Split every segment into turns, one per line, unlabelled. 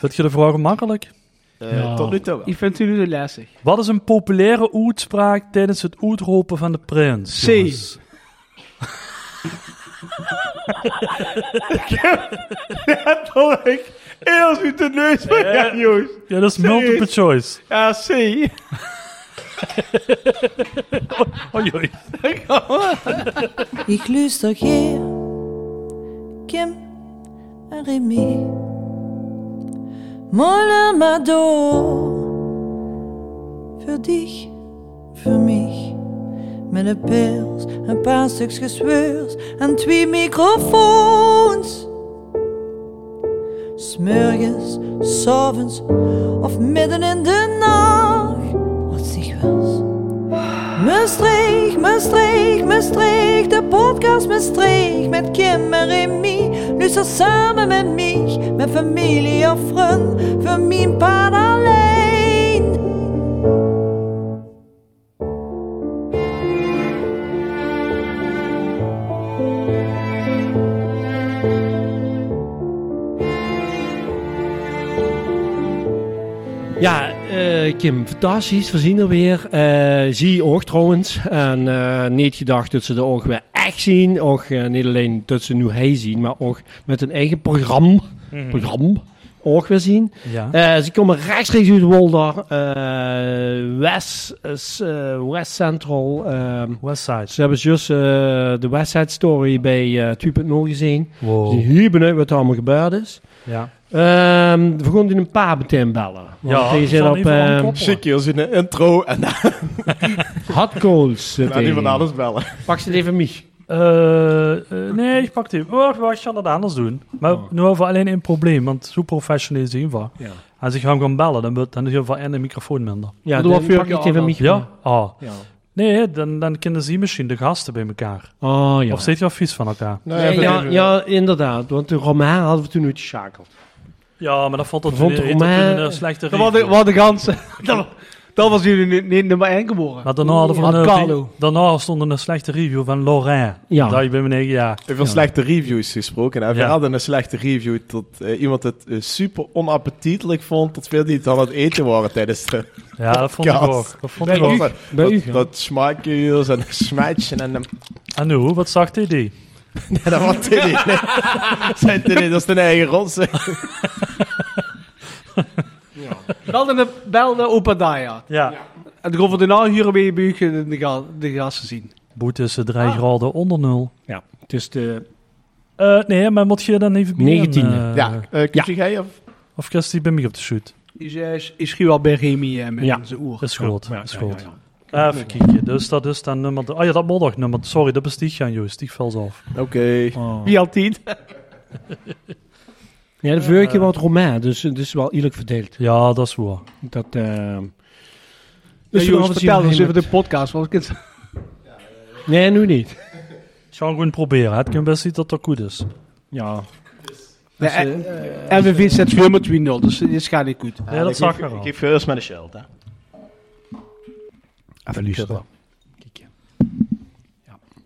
Vind je de vraag makkelijk?
Eh,
Ja.
Tot nu toe wel.
Ik vind ze nu zo lastig.
Wat is een populaire uitspraak tijdens het uitroepen van de prins?
C.
jongens?
Dat ik eerst uit de neus van jou, jongens.
Ja, dat is multiple choice.
Ja, zie.
Oei, oei.
Ik luister Geer, Kim en Remy. Molle maar door. Voor dich, voor mij. Met een pils, een paar stukjes zweurs en twee microfoons. Smurgens, s'avonds of midden in de nacht. Wat zich wels. Maastricht, Maastricht, Maastricht, de podcast Maastricht met Kim en Remy. Luister samen met mij, met familie of vriend, voor mijn paard alleen.
Ja, eh, Kim, fantastisch. We zien er weer. Eh, zie je ook trouwens. En eh, niet gedacht dat ze er ook weer echt zien. Ook eh, niet alleen dat ze nu hij zien, maar ook met een eigen programma. Programma. Ook weer zien.
Ja.
Eh, ze komen rechtstreeks uit Wolder. eh, West, is, eh, West Central. ehm.
Westside.
ze hebben juist eh, de West Side Story bij eh 2.0 gezien. Ze zijn
Wow.
heel benieuwd wat er allemaal gebeurd is.
Ja.
Ehm, we gaan in een paar meteen bellen. Want
Ja,
die
ik
zit
zal
op
even
ehm,
aankloppen.
Zie hier in een intro en dan
hot goals. zit
aan
hij.
iemand anders bellen.
Pak ze even mij.
Eh, eh, nee, ik pak die. Wacht, wacht, ik zal dat anders doen. Maar
Oh.
nu hebben we alleen een probleem, want zo professioneel zien we.
Ja.
Als ik hem gaan bellen, dan, wordt- dan is heel veel en de microfoon minder.
Ja,
Doe
dan
wat voor
pak
je
je het even mij.
Ja? Ah.
Ja.
Nee, dan, dan kennen ze misschien de gasten bij elkaar.
Oh ja.
Of zit je al vies van elkaar?
Nee, ja, ja, inderdaad. Want de Romain hadden we toen uitgeschakeld.
Ja, maar dat valt tot
Vond
in- in-
Romain-
in een slechte
Dat was de,
regio.
wat de ganse. Dat, wa- dat was jullie nu- niet nummer 1 geboren.
Maar daarna, hadden we
Had
een, eh,
Carlo.
daarna stond er een slechte review van Lorraine.
Ja.
Daar bij mijn eigen jaar.
Over slechte reviews gesproken. En we
Ja.
hadden een slechte review tot eh, iemand het eh, super onappetitelijk vond. Tot veel die het aan het eten waren tijdens de...
Ja, dat vond ik
Podcast.
ook. Dat vond
Dat,
ik ook.
dat,
Bij u, ja.
dat smaakjes en smatchen en... en-
En nu, wat zag hij die?
Nee, dat was Tilly. Nee. Zijn Tilly, dat is de eigen rotsen.
Belde, de- belde opa Daya.
Ja.
En toen kon we daarna hier bij bij u de, ga- de gasten zien.
Boete is 3 eh, graden onder nul.
Ja. Dus de...
Eh, nee, maar moet je dan even beginnen?
19e.
eh,
Ja, eh
Ja.
kun jij of...
Of kast die bij mij op de shoot?
Is, eh, is, is Gual bij Remy eh, met
Ja.
zijn oer.
Is goed,
Ja,
is
ja,
goed.
ja, ja.
Even kijken, dus dat is dan nummer... Ah ja, dat moet nog nummer... Sorry, dat bestieg je aan Joost, die valt af.
Oké.
Oh.
Wie altijd?
Ja, de vorige keer was het Romain. Dus het is wel eerlijk verdeeld.
Ja, dat is waar.
Dat... ehm
Dus jongens,
we hadden
vertel
zien
eens
we
even de podcast. Want ik het
Nee, nu niet.
Ik ga hem gewoon proberen, hè. het kan best niet dat dat goed is.
Ja.
Nee, eh, en, en we winnen het nummer 2-0, dus dit gaat niet goed.
Nee, dat zag ik al.
Geef eerst met een shield, hè.
Even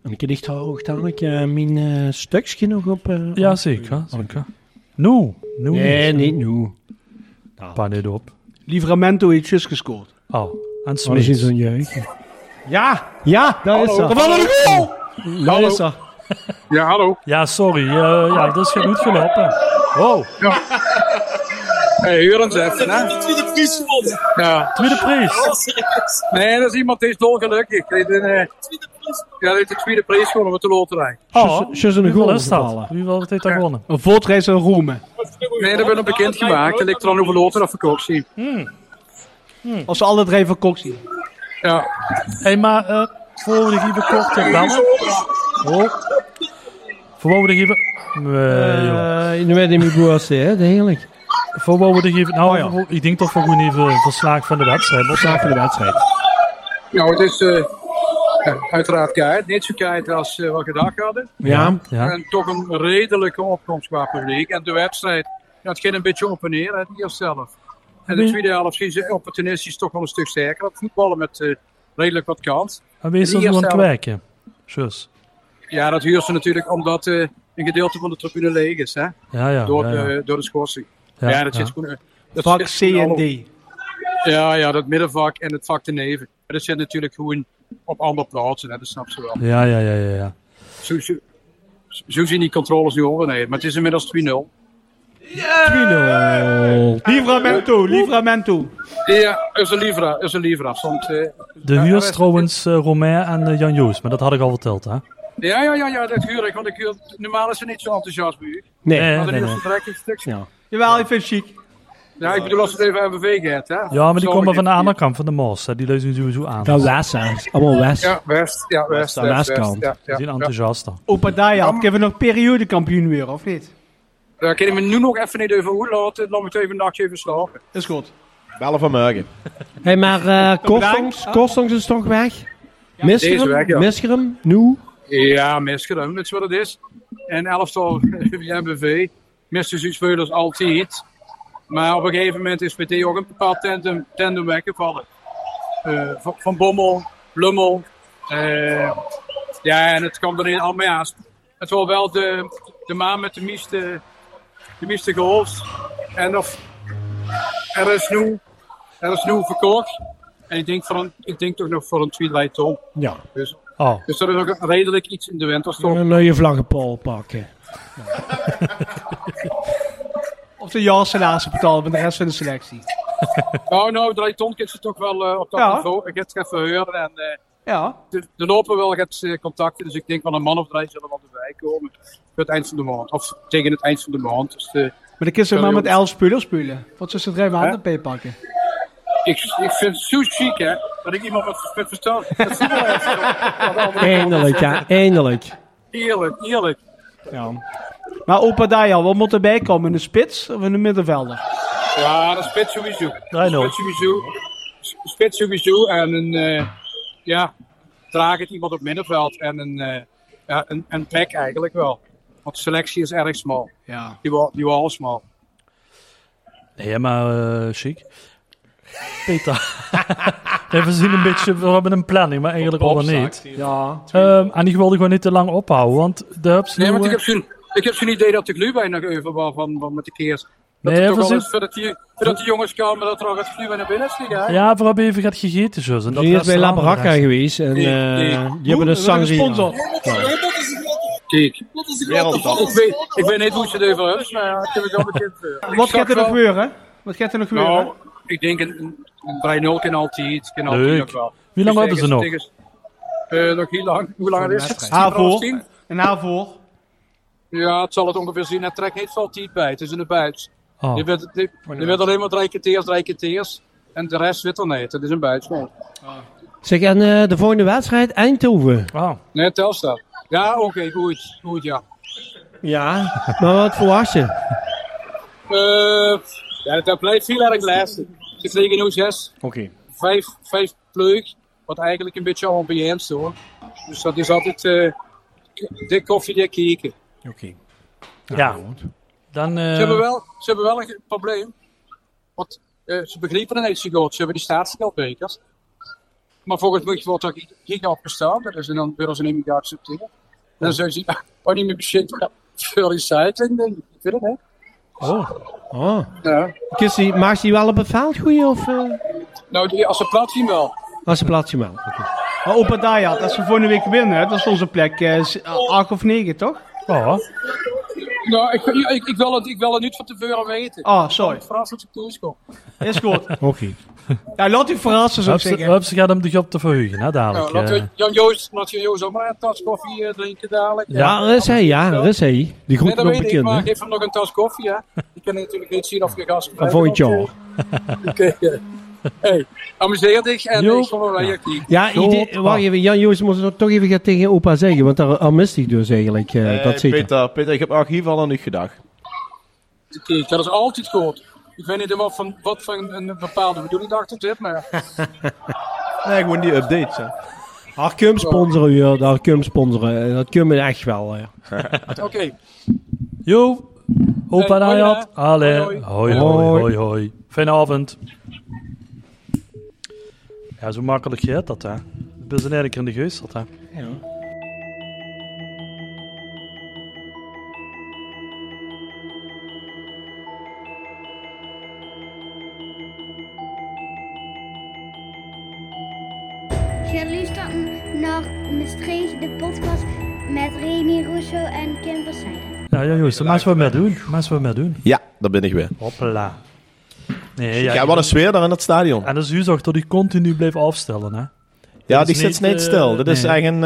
En ik dicht houden, dan ik eh, mijn eh, stukje nog op... eh,
Ja,
op-
zeker, Nou, zeker. Nu, nu.
Nee, niet nu.
Pa niet op.
Livramento heeft just gescoord.
Oh, en
Oh, dat is in
Smeets.
zo'n jeugd. Ja, ja, daar is ze.
Wat een goal!
Daar is ze.
Ja, hallo.
Ja, sorry, eh, ja, dat is geen goed gelopen. Wow,
Hey, huur eens even, hè? Die tweede prijs gewonnen. Ja.
tweede prijs.
Nee, dat is iemand die is dolgelukkig. Die heeft een, eh, ja, die heeft de tweede prijs gewonnen met de loterij.
Oh,
Ze zijn een
hoeveel
goal
is dat?
gevallen.
Wie wil het heeft dat gewonnen?
Een voortreis aan Roemen.
Nee, dat werd nog bekendgemaakt. En ik er dan over loter of verkoop zien.
Als ze alle drie van Cox zien.
Ja.
Hé, hey, maar eh voor we de even kort te bellen. Oh. Voor we de even. Nee, joh.
Eh, nu weet ik niet hoe het hè, de heerlijk.
Voor we de even. Nou,
Oh, ja.
voor- ik denk toch we gewoon even een verslag van de wedstrijd. moeten
Zaak van de wedstrijd.
Nou, het is eh, ja, uiteraard keihard. Niet zo keihard als eh, wat we gedacht hadden.
Ja,
Ja.
En toch een redelijke opkomst qua publiek. En de wedstrijd, ja, het ging een beetje op en neer, hè, de eerste helft. En de
Nee.
tweede helft zien ze opportunistisch toch wel een stuk sterker. op voetballen met eh, redelijk wat kans.
En wees
Die
dan zo aan het
eerste
kwijken. Zus.
Ja, dat huurt ze natuurlijk omdat eh, een gedeelte van de tribune leeg is, hè?
Ja, ja.
door,
ja, ja.
De, door de schorsing. Ja, dat zit gewoon... eh, Dat
Vak
zit gewoon allemaal-
CND.
Ja, ja, dat middenvak en het vak de neven. Maar dat zit natuurlijk gewoon op andere plaatsen, hè, dat snap ze wel.
Ja, ja, ja, ja. ja.
Zo, zo, zo zien die controles nu over, nee. Maar het is inmiddels 2-0.
3-0.
Eh,
Livramento, Livramento.
Ja, is een Livra, is een Livra. Soms, eh,
De huur is trouwens eh, Romain en eh, Jan Joos, maar dat had ik al verteld, hè?
ja, ja, ja, ja, dat huur ik, want ik huur, normaal is ze niet zo enthousiast bij u.
Nee.
Eh,
Maar de
nee,
nieuwste
nee.
trek is stuk.
Ja.
Jawel, ik vind het chic.
Ja, ik bedoel als het even MVV gaat, hè.
Ja, maar die
Zo
komen van de
even-
andere kant van de Mos. hè. Die lezen sowieso aan.
Van
Die
West, hè. Het is Allemaal West.
Ja, West, ja, West,
aan
West,
de
West,
Westkant.
ja, ja,
zijn
ja.
enthousiaster.
Oh. Obadiah, had Kevin nog periodekampioen weer, of niet?
Daar kan ik me nu nog even niet over hoe laten. Laat me het even een nachtje even slapen.
Is goed.
Bellen van morgen.
hey, maar eh Korstons,
Bedankt.
Korstons is toch weg?
Deze weg,
Mischerum?
ja.
Mischerum? Nu?
Ja, misgedaan, dat is wat het is. En elftal MBV mist dus iets veulers altijd. Maar op een gegeven moment is PT ook een bepaald tandem, tandem weggevallen. Eh, van, van Bommel, Lummel. eh, ja, en het kwam er in Almeaas. Het was wel de, de maan met de meeste, de meeste goals. En of, er is nu, er is nu verkocht. En ik denk, voor een, ik denk toch nog voor een tweede ton.
Ja.
Dus
Oh,
dus er is ook redelijk iets in de winterstop.
Een nieuwe vlaggenpaal pakken.
Of de jaarsalaris betalen met de rest van de selectie.
Nou, nou, Drayton kent ze toch wel eh, op dat
Ja.
niveau. Ik heb het even horen en eh,
Ja.
de- er lopen wel het contacten. Dus ik denk van een man of drie zullen wel erbij komen. Voor het eind van de maand. Of tegen het eind van de maand. Dus eh,
Maar de kinderen maar
Sorry,
met elf spelers spelen. Wat ze ze drie maanden bij pakken.
ik, ik vind het zo chic, hè. Dat ik iemand met, met verstand... met voetbal heb.
Eindelijk, ja. Eindelijk.
Eerlijk, eerlijk.
Maar Obadiah, wat moet erbij komen? Een spits of een middenvelder?
Ja, dat is spits sowieso.
Draai nul.
Spits sowieso. S- Spits sowieso. En een, eh, ja, draag het iemand op middenveld. En een, eh ja, een, een pack eigenlijk wel. Want de selectie is erg smal.
Ja.
Die was, die was al smal.
nee, maar eh, chic. Peter. nee, we zien een beetje, we hebben een planning, maar eigenlijk al dan niet.
Ja.
Ehm, en ik wilde gewoon niet te lang ophouden, want de hubs
Nee, want
nieuwe-
ik heb zo'n... Ik heb zo'n idee dat de glühwein nog even wel van, van met de keers. Dat
Nee,
er toch
voor
wel
zin-
eens, voordat die, voordat die jongens komen, dat er al wat glühwein naar binnen schiet. hè?
Ja, voor hebben even gaat gegeten, zo. En dat
Die is bij
restaurant-
Labaraka geweest en eh,
Nee, nee.
die hebben de sangria.
Kijk.
Wereldtop.
Ik weet, ik weet niet hoe ze het even hebben, maar ja, ik heb het al bekend. eh. Ik
Wat
zag
gaat er nog
wel-
gebeuren? Wat gaat er nog gebeuren?
Nou, ik denk een, een 3-0 kan altijd. Kan altijd
Leuk.
nog wel. Dus
Wie lang hebben ze nog?
tegen- eh, nog heel lang. Hoe lang is het?
Havo.
Tien?
En daarvoor?
Ja, het zal het ongeveer zien. Het trekt niet veel tijd bij. Het is in de buit.
Oh.
Je werd, je, je werd alleen maar drie keteers, drie keteers. En de rest zit er niet. Het is een buit. Nee,
Zeg, en eh, de volgende wedstrijd Eindhoven.
Oh.
nee Telstar. Ja, oké, goed. Goed, ja.
Ja. Maar wat verwacht je?
Eh, ja, dat blijft heel erg lastig. Ze vliegen nu zes,
Oké.
vijf, vijf pleug. Wat eigenlijk een beetje ambiance hoor. Dus dat is altijd eh dik koffie, dik kieken.
Oké.
Ja. Dan, eh,
Ze hebben wel, ze hebben wel een ge- probleem. Want eh, ze begrepen het niet zo goed. Ze hebben die staatsgeldbekers. Maar volgens mij wordt er giga opgestaan. Dat is en dan willen ze niet meer accepteren. En dan zeggen ze, ja, oh, niet meer beschikbaar voor recycling. denk Ik Ik weet het niet.
oh.
Oh.
Ja.
Kies die, maakt die wel op het veld goed of eh
Nou, die, als ze plat zien wel.
was het plaatsje wel?
Maar Obadiah, als we volgende week winnen, hè, dat is onze plek 8 acht of 9, toch?
Oh.
Nou, ik, ik, ik, wil het, ik wil het niet van tevoren weten.
Oh.
Ah, sorry.
Verrast dat ik thuiskom.
Is goed.
Oké.
Ja, laat u verrassen, zou ik
Hubs
zeggen.
Hubs gaat hem de job te verheugen, hè,
Nou,
dadelijk.
laten
eh.
we Jan Joost, laat Jan Joost ook maar een tas koffie eh, drinken dadelijk.
Ja, daar is hij, ja, daar is hij. Die
Nee,
groep
dat
nog
weet ik,
bekend,
maar
hè?
geef hem nog een tas koffie, hè. Ik kan natuurlijk niet zien of je gast
Van volgend jaar.
Oké. Hey, amuseer dich en
Jo.
ik vond wel leuk hier.
Ja, idee, wacht even, Jan Joost moest het toch even gaan tegen opa zeggen, want daar daar mist hij dus eigenlijk eh,
Eh,
dat zeker.
Peter, Peter, ik heb archief al aan u gedacht.
Kijk, dat is altijd goed. Ik weet niet wat van, wat van een bepaalde bedoeling dacht dit, maar...
Nee, gewoon die updates. Hè.
Haar cum sponsoren, ja, haar cum sponsoren. Eh, Dat cum echt wel. eh.
Oké.
Jo, opa
Hey, hoi,
Nayat.
hè.
Allee.
Hoi,
Hoi,
Hoi.
hoi, hoi, hoi. Fijne avond. Ja, zo makkelijk gaat dat, hè. Ik ben eigenlijk in de geest, dat, hè.
luisteren naar Maastricht, de podcast met Remy Russo en Kim Versijden.
Ja, ja jongens, dan maar eens wat meer doen. Maar eens wat meer doen.
Ja, daar ben ik weer.
Hoppla. Nee,
Ja,
ja,
wat een sfeer daar in dat stadion.
En dat is Huuzog dat die continu bleef afstellen, hè.
Ja,
dat
die
is
zit
niet,
niet
eh,
stil. Dit is
nee.
eigenlijk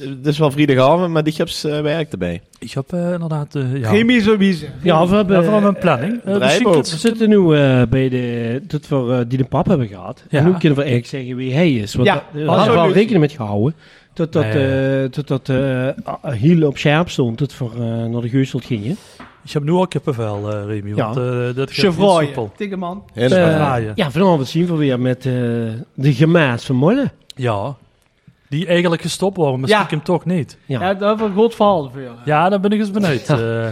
een, eh, dit is wel vrijdagavond, maar die gips eh, werkt erbij.
Ik heb eh, inderdaad... eh ja,
Remy Louise.
Ja, we
Ja, vooral
hebben...
mijn planning. Eh,
Draaiboek.
misschien
We
dat-
zitten nu eh, bij de, dat we eh, die de pap hebben gehad.
Ja.
En nu kunnen we eigenlijk zeggen wie hij is. Want
Ja,
daar daar
hallo,
hadden we al
Lucie.
rekening met gehouden. Tot dat,
Nee.
eh tot dat eh, ah, hiel op scherp stond, dat we eh, naar de geuselt gingen.
Ik heb nu ook kippenvel, eh Remy.
Ja.
Want eh dat gaat niet
Chevrolet.
soepel.
Dikke man.
Eh,
Inderdaad.
draaien.
ja, vanavond zien we weer met eh, de gemaas van Molle.
Ja. Die eigenlijk gestopt worden, maar
Ja.
stiekem toch niet.
Ja.
Ja, dat was een goed verhaal voor jou.
Ja, daar ben ik eens benieuwd. eh.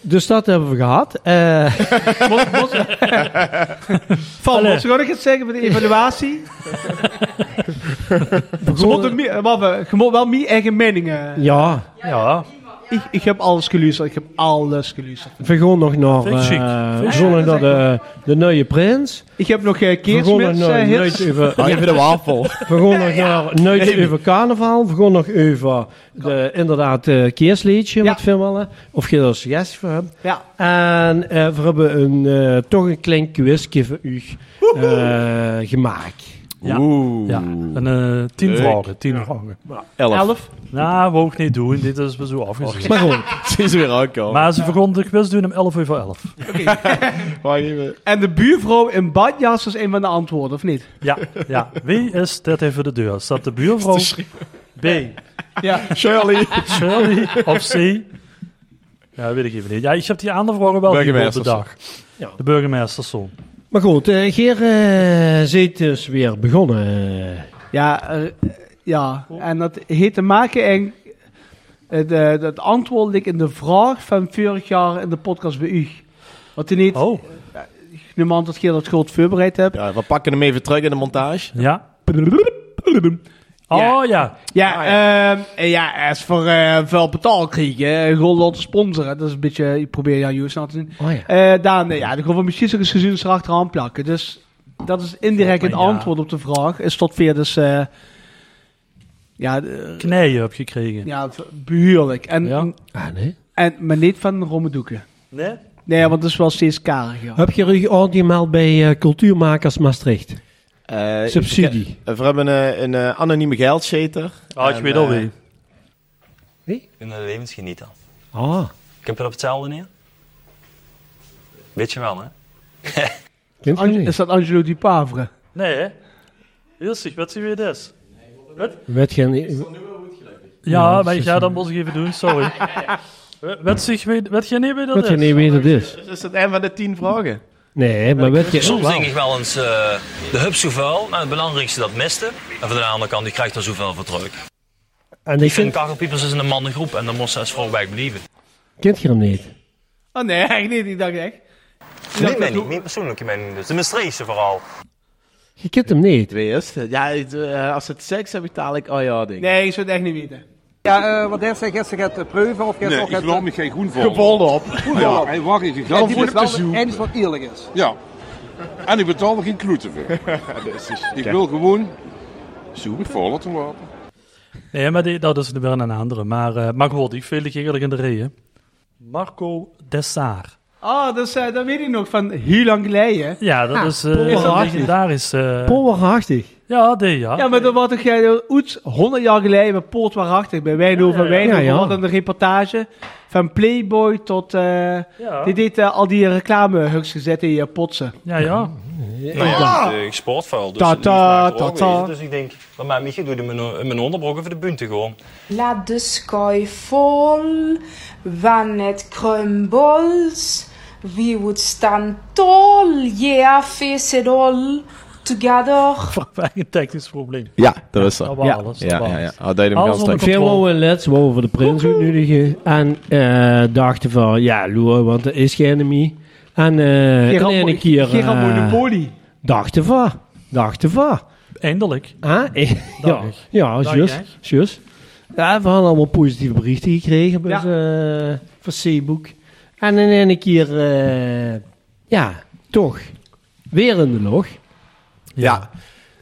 Dus dat hebben we gehad. Eh,
Van,
Allee.
wat zou ik het zeggen met de evaluatie?
begonnen-
Ze moeten meer- wat we- je moet wel mijn eigen meningen.
ja,
ja.
Ik, ik heb alles geluisterd. Ik heb alles geluisterd.
we gaan nog naar
Vind ik chic.
eh zondag naar de, de nieuwe prins.
Ik heb nog eh
We gaan nog
Keersmits
naar
hits.
Nuit over-
Hang even de wafel.
We gaan nog naar Nuit over carnaval. We gaan nog over de, inderdaad eh keersliedje
Ja.
met filmen. Of je er een suggestie voor hebt.
Ja.
En eh, we hebben een, eh, toch een klein quizje voor u eh, gemaakt.
Ja.
Oeh.
ja. En, eh, tien
Leuk.
vragen. Tien vragen.
Elf.
Elf.
Nou, we ook niet doen. Dit is we zo afgezien.
Maar goed,
Ze is weer aankomen.
Maar ze begon de quiz doen om 11 uur voor 11.
Wacht even.
En de buurvrouw in badjas was een van de antwoorden, of niet?
Ja, ja. Wie is dit even de deur? Staat de buurvrouw? B.
Ja.
Shirley.
Shirley of C? Ja, weet ik even niet. Ja, ik heb die andere vragen wel gehoord de
Burgemeester.
dag.
Ja.
De burgemeesterszoon.
maar goed eh, Geer eh zit dus weer begonnen.
Ja, eh, ja. en dat heeft te maken en het, eh, dat antwoord ligt in de vraag van vorig jaar in de podcast bij u. Wat u niet,
Oh,
niemand dat je dat goed voorbereid hebt.
Ja, we pakken hem even terug in de montage.
ja. Oh ja.
Ja, ehm, eh, ja, als voor eh, veel betaal krijgen, eh, gewoon laten sponsoren. Dat is een beetje, ik probeer jou juist aan te doen.
Oh ja.
Eh, dan, eh, ja, dan gaan we misschien zo'n gezin erachteraan plakken. Dus dat is indirect het
Maar ja.
antwoord op de vraag. Is tot weer dus, eh, ja, eh,
Knijen heb gekregen.
ja, behuurlijk. En,
Ja.
Ah, nee.
en, maar niet van Rommedoeken.
Nee?
Nee, want dat is wel steeds karig. Ja.
Heb je je aangemeld bij eh, Cultuurmakers Maastricht?
Eh,
Subsidie.
We hebben een, een eh, anonieme geldshater.
Ah, ik
En,
weet
eh,
al wie.
in de levensgenieter.
Ah,
Komt dat op hetzelfde neer? Weet je wel, hè?
kent je
Ange-
niet?
is dat Angelo Di Pavre?
Nee, hè? Hilsig, wat zie je weer des?
Weet geen...
Ja,
dat
maar
is
ja,
een-
dat moest ik even doen, sorry. Wat- Wat zich weet, wat je niet weet dat
Weet je
is?
niet wie dat is?
Dat is het eind van de tien vragen.
Nee, maar weet je...
Soms
Wauw.
denk ik wel eens, eh, de hub zo vuil, maar het belangrijkste dat miste. En van de andere kant, die krijgt er zoveel voor terug.
En ik
Ik vind
ken,
Kachelpiepers is een mannengroep en dan moest ze als voorbij blijven.
kent je hem niet?
Oh nee, eigenlijk niet. Ik dacht echt.
Niet mijn niet, mijn persoonlijke mening dus. De Maastrichtse vooral.
Je kent hem niet.
Wie is het? Ja, het, eh, als het seks heb ik dadelijk... Oh ja, denk ik.
Nee, ik zou het echt niet weten.
Ja, eh, wat heeft hij gisteren gaat eh, proeven of gisteren ook
Nee, ik
gaat
geloof me geen groen voor.
Gebonden op.
Ja, hij wacht even. Ik geloof
En die moet
voor
wel
te
de
zoeken.
eens wat eerlijk is.
Ja. En ik betaal er geen kloeten voor. Ik wil gewoon zoeken voor laten lopen.
Nee, maar die, dat is weer een andere. Maar, eh maar goed, ik viel ik eerlijk in de reden. Marco Dessaar.
Oh, dat, is, eh, dat weet ik nog van heel lang geleden.
Ja, dat is, eh,
Paul
is een
Hartig.
legendarisch... eh,
Oh, Polwerachtig.
ja, die, ja.
Ja, maar dat was toch jij Oets, 100 jaar geleden bij Poort Waarachtig, bij Wijnhoven.
Ja, ja, ja.
Wijnhoven
Ja, ja.
hadden een reportage van Playboy tot... eh,
Ja,
Die deed eh, al die reclamehugs gezet in je potsen.
ja. ja.
Nou ja, ik sport vuil. Dus,
Ta-
die smaakt
ta-
er ook
ta-
eh,
wezen.
ta.
dus ik denk, bij mij Mietje doet in mijn, in mijn onderbroek over de bunte gewoon.
Laat de sky fall, when it crumbles, we would stand tall, yeah, face it all, together.
Voor een technisch probleem.
Ja, dat is
Dat
er.
was
Ja.
alles. dat
Ja,
was
ja, ja.
alles.
Oh, dat je hem
Alles
geld
onder
trekt.
controle.
Veel wouden leds, wouden voor de prins uitnodigen. En eh, dachten van, ja, loer, want er is geen enemy. En eh een
Gerard Mo-
ene keer eh,
Gerard Monopoly.
dachten van, dachten van.
Eindelijk.
Huh? Eh, ja,
Dag.
ja
Dag,
juist,
hè?
juist. Ja, we hadden allemaal positieve berichten gekregen bij
Ja.
ze, eh, van C-boek. En in ene keer, eh, ja, toch, weer in de log.
Ja.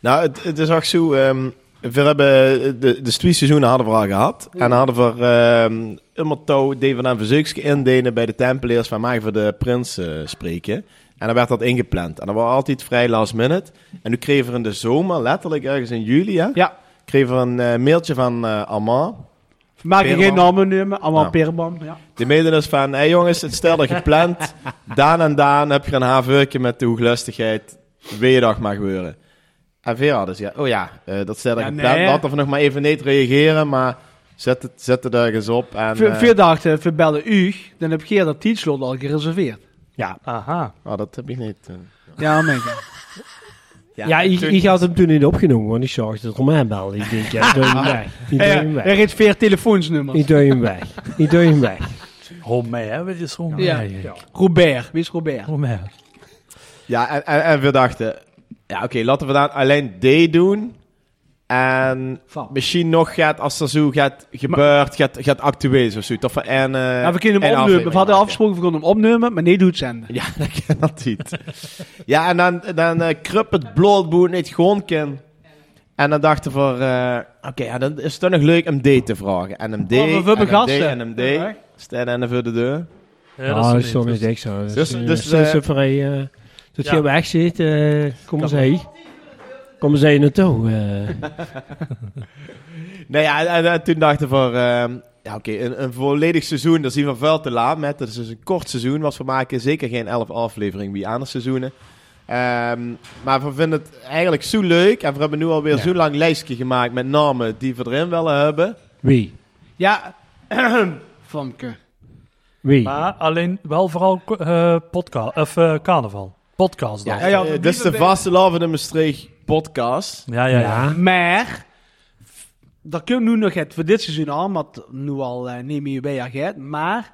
Nou, het, het is ook zo. ehm, We hebben de, de twee seizoenen hadden we al gehad. En hadden we ehm iemand touw David en Verzeukske indenen bij de tempeliers van mij voor de prins eh, spreken. En dan werd dat ingepland. En dat was altijd vrij last minute. En nu kregen we in de zomer, letterlijk ergens in juli, hè?
Ja.
Kregen we een eh, mailtje van eh Armand.
We maken geen
Peerman.
namen nu, maar allemaal
Nou.
Peerman. Ja.
Die meiden dus van, hé jongens, het stel dat gepland. Daan en Daan heb je een haverkje met de hoeglustigheid. Weerdag mag gebeuren. En Vera dus, ja, oh ja, eh, dat stel dat
Ja,
gepland.
nee.
Laten we nog maar even niet reageren, maar zet het, zet het ergens op. En,
Ve-
eh,
Veel dachten, we bellen u, dan heb je dat tijdslot al gereserveerd.
Ja.
Aha.
Ah, dat heb ik niet. eh.
Ja, meen
Ja, ik, ik had hem toen niet opgenomen, want ik zag dat Romein belde. Ik denk, ja, ik doe hem weg. Ik doe hem
Er
weg.
heeft veer telefoonsnummers.
Ik doe hem weg. Ik doe hem weg.
Romain, hè? Weet je, is Romain.
Ja. Robert, wie is Robert?
Romain.
Ja, en, en, en we dachten, ja oké, laten we dan alleen D doen. En misschien nog gaat, als er zo gaat gebeurt, gaat, gaat actueel is of eh, zo. Toch van en,
Ja, we kunnen hem opnemen. We hadden afgesproken, we konden hem opnemen, maar nee, doe het zenden.
Ja, dat kan dat niet. ja, en dan, dan eh, krup het blootboer niet gewoon ken. En dan dachten we, eh, oké, ja, dan is het toch nog leuk om D te vragen. En hem D,
Oh, we hebben
en hem D,
gasten.
en hem D. Staan en voor de deur.
Ja, dat is toch niet echt zo. Dus,
Dus-
dus,
dus,
dat is
eh,
een vrij... eh, dat
ja.
je weg zit, eh, kom eens heen. Kom eens heen naartoe. eh.
Nou ja, en, en- en toen dachten we, eh, ja, oké, een, een volledig seizoen, dat zien we veel te laat met. Dat is dus een kort seizoen, want we maken zeker geen elf afleveringen wie aan de seizoenen. Ehm, maar we vinden het eigenlijk zo leuk en we hebben nu alweer zo'n lang lijstje gemaakt met namen die we erin willen hebben.
Wie?
Ja, Famke.
Wie?
Maar alleen wel vooral eh podcast, of eh, carnaval. Podcast dan.
Ja, eh, dit is de vaste Love in Maastricht podcast.
Ja, ja, ja.
Maar, dat kunnen we nu nog het voor dit seizoen al, maar het nu al eh, niet meer bij Aget. Maar,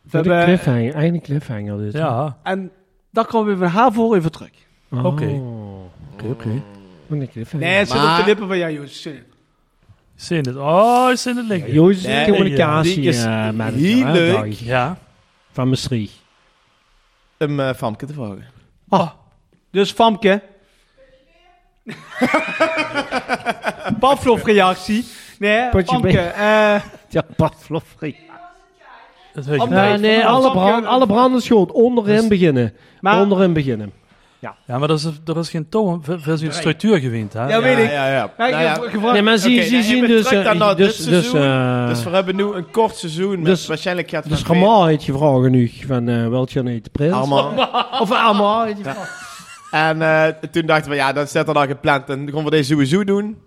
we
Wat een
hebben,
cliffhanger. Eigenlijk cliffhanger dit.
Ja,
en daar komen we van haar voor even terug.
Oh.
oké.
Oké,
Mm.
oké. Wat een cliffhanger.
Nee, het zit
Maar-
op de lippen van jou, jongens. Sorry.
Zin het. Oh, zin het liggen.
Joost is een
Nee,
communicatie
die is
eh, manager,
heel
hè,
leuk.
Dag.
Ja.
Van Maastricht.
Om eh Famke te vragen.
Ah, Dus Famke. Pavlov reactie. Nee,
Potje
Famke.
been.
eh
Ja, Pavlov.
Dat weet je.
André.
niet.
Nee, nee, alle, brand, alle branden schoon. Onderin beginnen.
maar,
Onderin beginnen.
Ja, maar er is, er is geen toon. Er er is geen structuur gewend, hè?
ja, weet ik.
Ja, ja.
Ja, ik
Nou ja.
heb gevraagd-
Nee, maar zie,
Oké,
zie,
nee,
zien
even
dus...
terug
eh,
dan naar
dus,
dit
dus,
seizoen.
eh,
Dus we hebben nu een kort seizoen. Met
dus-
waarschijnlijk gaat
dus
Van
Ramar heeft je vragen nu. Van eh Weltje en de
Veen-
Prins.
Allemaal.
Of Amar heeft je vragen.
En eh, toen dachten we, ja, dat is dat al gepland. En dan gaan we deze sowieso doen.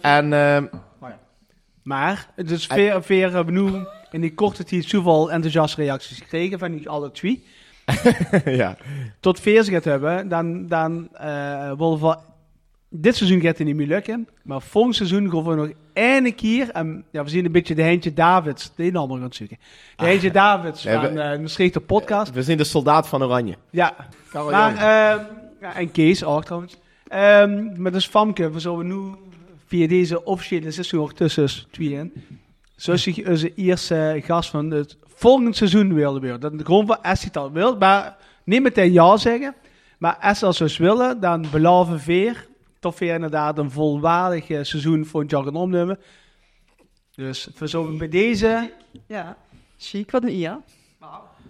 En eh,
Maar het is veer, veer eh, benoemd in die korte tijd zoveel enthousiaste reacties gekregen van niet alle twee.
ja.
Tot veer ze het hebben, dan, dan eh, willen we... Dit seizoen gaat het niet meer lukken, maar volgend seizoen gaan we nog één keer... En, ja, we zien een beetje de Heintje Davids, die naam gaan zoeken. De Heintje Davids
Ah. Ja,
van
we-
eh misschien de podcast.
We zien de soldaat van Oranje.
Ja, maar, ehm, ja, en Kees ook trouwens. Ehm maar dus Famke, we zullen nu via deze officiële sessie ook tussen tweeën. Zoals je onze eerste gast van het volgende seizoen wilde weer. Dat is gewoon wat als je het al wilt, maar niet meteen ja zeggen. Maar als ze dus willen, dan beloven veer. Toch weer inderdaad een volwaardig eh, seizoen voor een jargon opnemen. Dus we zullen bij deze.
Ja, chic, wat een IA.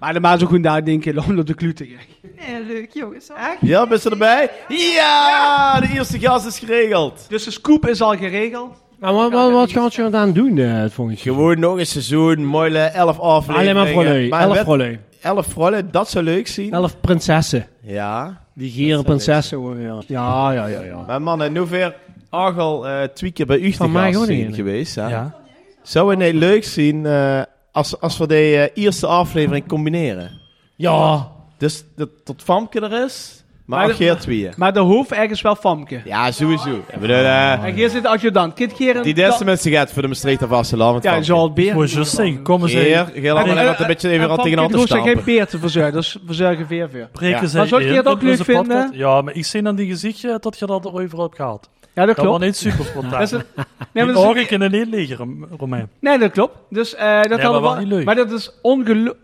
Maar de maat zo goed nadenken om dat de clue te krijgen.
Nee, leuk jongens. Echt?
Ja, ben je erbij? Ja, de eerste gast is geregeld.
Dus de scoop is al geregeld.
Maar wat, wat, wat gaat je dan doen eh, het volgende seizoen?
Gewoon nog een seizoen, mooie elf afleveringen.
Alleen maar Froley. Elf
met-
Froley.
Elf rollen, dat zou leuk zien.
Elf prinsessen.
Ja.
Die gieren prinsessen. hoor, ja. Ja, ja, ja, ja.
Maar mannen, nu weer Argel eh twee keer bij u te
Van mij
gast
gewoon
zijn
niet.
geweest. Hè?
Ja.
Zou het niet leuk zien eh, als, als we die eh, eerste aflevering combineren?
Ja.
Dus dat, dat Famke er is, maar,
Maar
ook
de-
Geert Wieën.
Maar de hoofd ergens wel Famke.
Ja, sowieso. Ik bedoel, eh,
En hier zit de adjudant. Kit Geren.
die beste mensen gaat voor de Maastricht of Asselam.
Ja, Charles Beer.
eh,
eh,
Moet je zo zingen. Kom eens
Geer,
even.
Geer, laat maar
En-
even een beetje even aan tegen te
Ik geen
stampen.
beer te verzorgen, dus verzorgen veer voor.
Preken
Ja.
ze
Maar zou je
in
dat
op onze
leuk vinden?
podcast? Ja, maar ik zie aan die gezichtje dat je dat er overal hebt gehaald.
Ja, dat
Dat was
klopt.
niet super spontaan.
Dat is- Nee,
Die
maar dat,
oren
is,
kunnen niet liggen, Rom- Romein.
nee, dat klopt. Dus eh, dat
maar
hadden
wel
we
niet leuk.
Maar dat is ongelooflijk.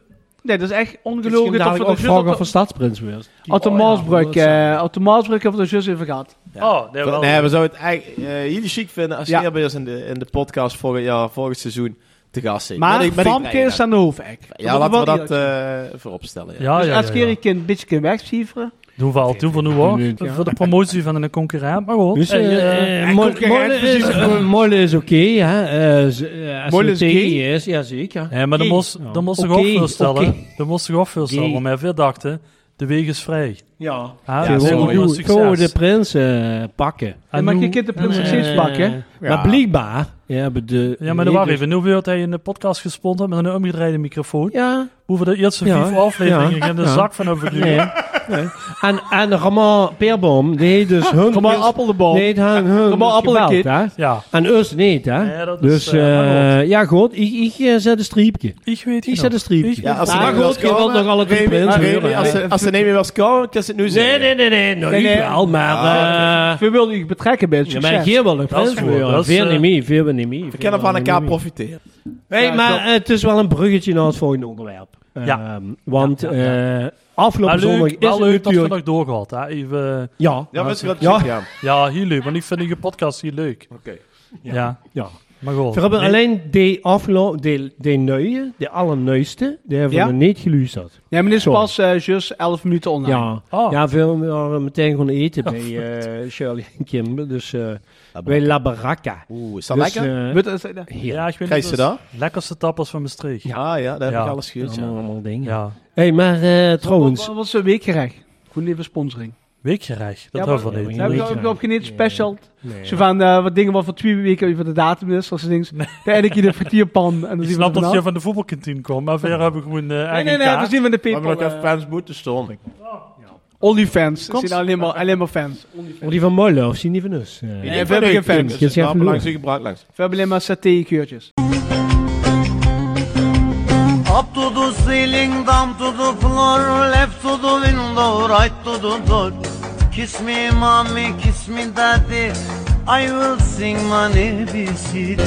Nee, dat is echt
Ik
ongelogen.
ging dadelijk ook vragen of er staatsprins was.
Op de Maasbrug, eh, op de Maasbrug hebben we er juist even gehad.
Oh, nee, wel.
Nee, we zouden het eigenlijk eh, heel chic vinden als ja. bij ons in de, in de podcast volgend, ja, volgend seizoen te gast zijn.
Maar
Met die- met die
Famke
kleine.
is aan de hoofdek.
Ja, laten we dat eh vooropstellen.
Ja,
dus
Ah, ja,
als
ja,
keer je kind een beetje kunt wegcijferen.
Doen we al, doen we nu
Minuut,
hoor.
ja.
Voor de promotie van een concurrent, maar goed.
Dus,
Hey,
eh,
eh,
eh, Molle- Molle is- eh, Molle is oké, hè. Eh, z- eh, Als
Molle
het
is
tegen
gay?
is, ja zeker.
Nee, maar dan moest, dan moest ik ook veel stellen. Dan moest ik ook veel stellen. Want mij veel dachten, de weg is vrij.
Ja.
Ah,
Ja,
dat is
gewoon
gewoon een
goed.
succes.
Gewoon de prins eh, pakken.
En
maar
nu-
je kunt de prins nog
eh,
steeds pakken.
Maar blijkbaar ja, hebben de...
Ja, maar dan wacht even. Nu wordt hij in de podcast gesponden met een omgedraaide microfoon.
Ja.
Hoeven de eerste
Ja.
vier afleveringen in de
Ja.
zak van over
Nee. Nee. En, en Ramon Peerboom, die heeft dus hun...
Ramon Appelboom.
Nee, hun, hun
Ramon Appelkind.
hè.
Ja.
En ons niet, hè.
Nee, dat is,
dus,
eh, maar
eh, ja, goed. Ik, ik eh, zet een streepje.
Ik weet
Ik zet een streepje.
Ja, als ze
maar
nemen wel
goed, je wilt nog alle twee prins horen,
Als
hè.
ze- als ze nemen wel scoren, kan ze het nu zeggen.
Nee, nee, nee, nee. Nou, ik wel, maar... eh,
We wilden je betrekken bij het
Ja,
succes.
maar hier wel een
Dat is
prins
goed,
horen.
dat is,
Veel
eh,
niet meer, veel niet meer.
We
veel
kunnen van
niet
elkaar
meer.
profiteren.
Nee,
Ja,
maar
klopt.
eh, het is wel een bruggetje naar het volgende onderwerp.
Ja.
Ehm, want
Ja, ja,
eh, afgelopen
Maar Ah, leuk,
zondag is
wel
het
leuk dat we
natuurlijk...
nog doorgehad. Hè? Even,
Ja. Ja,
wist je wat
ja.
ik zeg,
ja. heel leuk, want ik vind je podcast heel leuk. Oké. Ja. ja.
Ja.
Maar goed.
We hebben
Nee,
alleen de afgelopen, de, de nieuwe, de allerneueste, die hebben
Ja?
we niet geluisterd.
Ja, maar dit is
Sorry.
pas eh juist 11 minuten online.
Ja,
Ah, Oh.
ja we waren meteen gewoon eten bij eh, Shirley en Kim, dus eh, bij La Baracca.
Oeh, is
Dus, eh,
Weet- is- eh,
ja, ik weet
Krijg
niet,
je
dat
dat?
is Lekkerste tappers van Maastricht.
Ah, Ja, ja, daar heb
eh, Ja.
ik alles gehuurd.
allemaal,
Ja.
allemaal dingen.
Ja.
Hé, maar eh, trouwens...
Wat was een weekgerecht? Goed even sponsoring.
Weekgerecht, dat
Ja,
houden
maar-
we niet.
We hebben ook nog geen special.
Nee,
Zo van eh, wat dingen wat voor twee weken over de datum is. Als ding. Dan heb ik hier de frituurpan. En dan
Ik
zien we
snap
het
dat je
vanaf.
van de voetbalkantine komt, maar verder hebben we gewoon eh
Nee,
eigen
nee, nee. Dan
kaart.
zien we de
We hebben
Paypal.
nog even
eh,
fans moeten stonden.
Onlyfans. Er
Klopt.
zijn alleen maar, alleen maar fans.
Oh, die van Molle, of zien die van ons? Eh,
we hebben geen fans.
Kim, Kim, zeg even
langs,
door.
ik gebruik langs.
We hebben alleen maar saté-keurtjes.
Up to the ceiling, down to the floor, left to the window, right to the door. Kiss me, mommy, kiss me, daddy. I will sing my ABCD.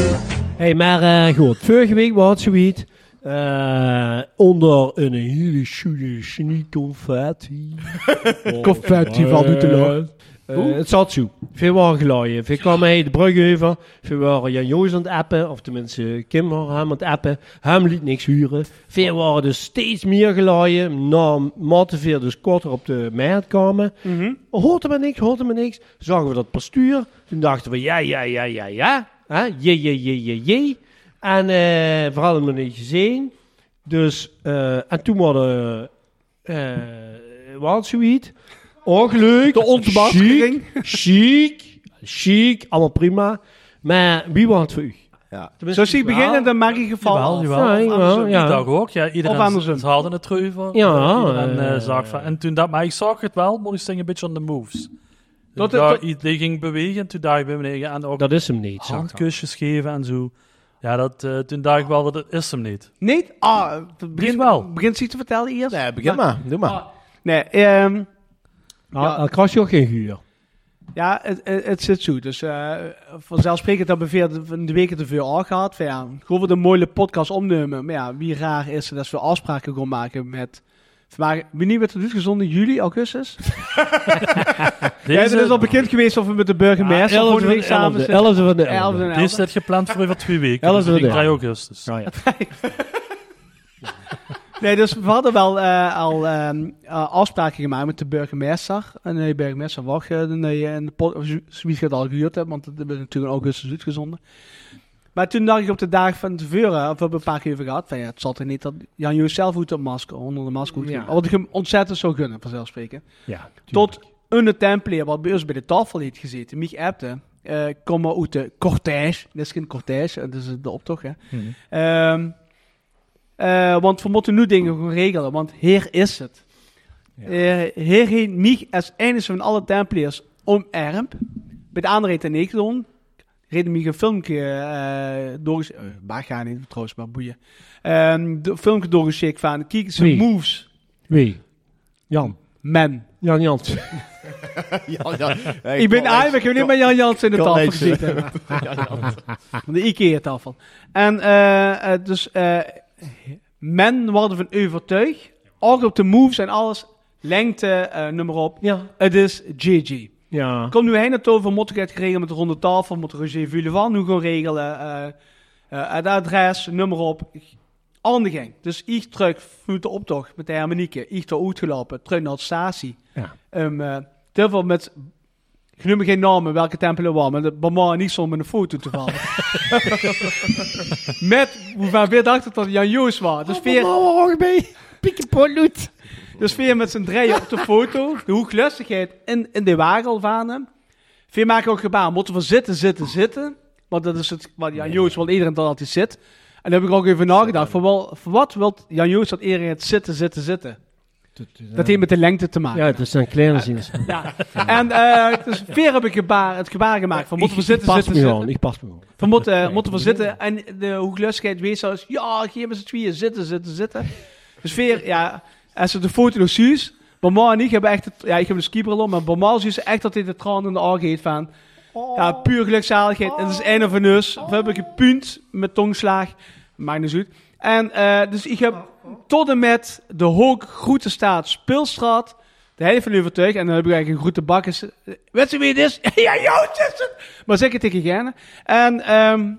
Hey, maar eh, goed, vorige week was zoiets. eh onder een hele schöne schnie confetti.
Confetti van Utrecht.
Eh, het zat zo. Veel waren gelaaien. Veel kwamen hij de brug over. Veel waren Jan Joos aan het appen. Of tenminste, Kim waren hem aan het appen. Hem liet niks huren. Veel waren dus steeds meer gelaaien. Naarmate veel dus korter op de markt kwamen. Hoorde maar niks, hoorde maar niks. Zagen we dat postuur. Toen dachten we, ja, ja, ja, ja, ja. Hè? Je, je, je, je, je. En eh we hadden hem nog niet gezien. Dus, eh, en toen hadden eh wat zoiets. Ook leuk. De
ontmaskering.
Chic, chic, allemaal prima. Maar wie was het voor u?
Ja.
Zo zie ik beginnen, dan maak ik geval
Jawel, jawel.
af.
Ja, jawel,
Andersom.
ja.
Die dag ook. Ja, iedereen
Of andersom. Ah,
z- ze hadden het terug van.
Ja,
iedereen, eh,
eh,
zag van. En toen dat, maar ik zag het wel, maar ik sting een beetje aan de moves. Dat,
Dat-
dat,
dat-
die ging bewegen en toen dacht ik bij beneden en ook
Dat is hem niet. zag ik al.
handkusjes geven en zo. Ja, dat, eh, toen dacht ik wel, dat is hem niet.
Nee, ah, het begint,
wel.
begint ze iets te vertellen eerst?
Nee, begin maar. Doe maar.
Nee, ehm,
Ah, ah, kras je ook geen huur.
ja, het, het, het zit zo. Dus eh, vanzelfsprekend hebben we veel- van de weken te veel al gehad. Van, ja, gewoon voor de mooie podcast opnemen. Maar ja, wie raar is dat we afspraken gaan maken met... Maar wanneer werd het dus gezonden? Juli, augustus? Ja, het is al bekend geweest of we met de burgemeester
Ja,
voor
11
de
van
week
de
samen
11e, 11e van de
11e
11e.
en
Die is
11e.
net gepland voor over twee weken.
Elf
dus ik
uur,
denk
ja.
3 augustus.
Nou ja.
Nee, dus we hadden wel eh, al ehm, eh, afspraken gemaakt met de burgemeester. En de burgemeester wacht eh, de nee, en de pod- of zo- zoiets gaat al gehuurd hebben, want dat hebben we natuurlijk in augustus uitgezonden. Maar toen dacht ik op de dag van tevoren, of we hebben een paar keer over gehad, van ja, het zat er niet dat Jan Joos zelf hoe dat masker, onder de masker hoed
Ja.
ging. Wat ik hem ontzettend zou gunnen, vanzelfsprekend.
Ja,
Tot een templier wat bij ons bij de tafel heeft gezeten, Mich Epte, eh kom maar uit de cortège. Dat is geen cortège, dat is de optocht, hè. Ehm, eh, want we moeten nu dingen gewoon regelen, want Heer is het. Eh heer heet Mich als enige van alle Templiers om Erp. Bij de andere heet hij Nekedon. Reden Mich een filmpje eh doorges- eh, waar gaan niet trouwens, maar boeien. Ehm de filmpje doorgeschikt van, kijk zijn
Wie?
moves,
Wie? Jan.
man.
Jan Jans.
Ja, ja. Hey,
ik ben
kom,
eigenlijk, ik heb niet met Jan Jansen in de
Kan
tafel
niks.
gezeten.
Ja, ja.
Van de IKEA-tafel. En eh, eh, dus eh men wordt ervan overtuigd, ook op de moves en alles, lengte, eh nummer op. Het is GG.
Ja.
Komt nu heen het over, moet ik het geregeld met de ronde tafel, moet Roger Vullevan nu gaan regelen. eh eh, het adres, nummer op. Al in de gang. Dus ik terug vanuit de optocht met de harmonieke. Ik ter uitgelopen, terug naar het statie.
Ja.
Um, eh, heel veel met, ik noem geen namen welke tempel er was, maar de Bama en ik stonden met een foto te vallen. met, hoeveel weer dacht ik dat het Jan Joos was.
Oh,
Dus weer,
nou,
dus weer met z'n drieën op de foto. De hoeklustigheid in, in de wagel van hem. Veel maken ook gebaar. Moeten we zitten, zitten, zitten. Want dat is het wat Jan Joost wil iedereen dat altijd zit. En daar heb ik ook even nagedacht. Voor, wel, voor wat wil Jan Joost dat iedereen het zitten, zitten, zitten? Dat
eh,
heeft met de lengte te maken.
Ja, het is een kleine zin.
Ja. En eh dus weer heb ik gebaar, het gebaar gemaakt. Van moeten we zitten,
pas
zitten,
me
zitten.
gewoon, ik pas me gewoon.
Van moeten, moeten we zitten. En de hoeklustigheid wees als, ja, geef me z'n tweeën zitten, zitten, zitten. Dus weer, ja, als ze de foto nog ziet, Bama en ik hebben echt, het, ja, ik heb een skibril om, maar Bama ziet ze echt dat hij de tranen in de ogen heeft van, ja, puur gelukzaligheid. En het is einde van neus. We hebben gepunt met tongslaag. Maakt niet uit. En, eh, dus ik heb tot en met de hoek groeten staat, speelstraat, de hele van overtuigd. En dan heb ik eigenlijk een groete bakkers. Weet je wie het is? ja, Joost is het! Maar zeker tegen Gerne. En ehm,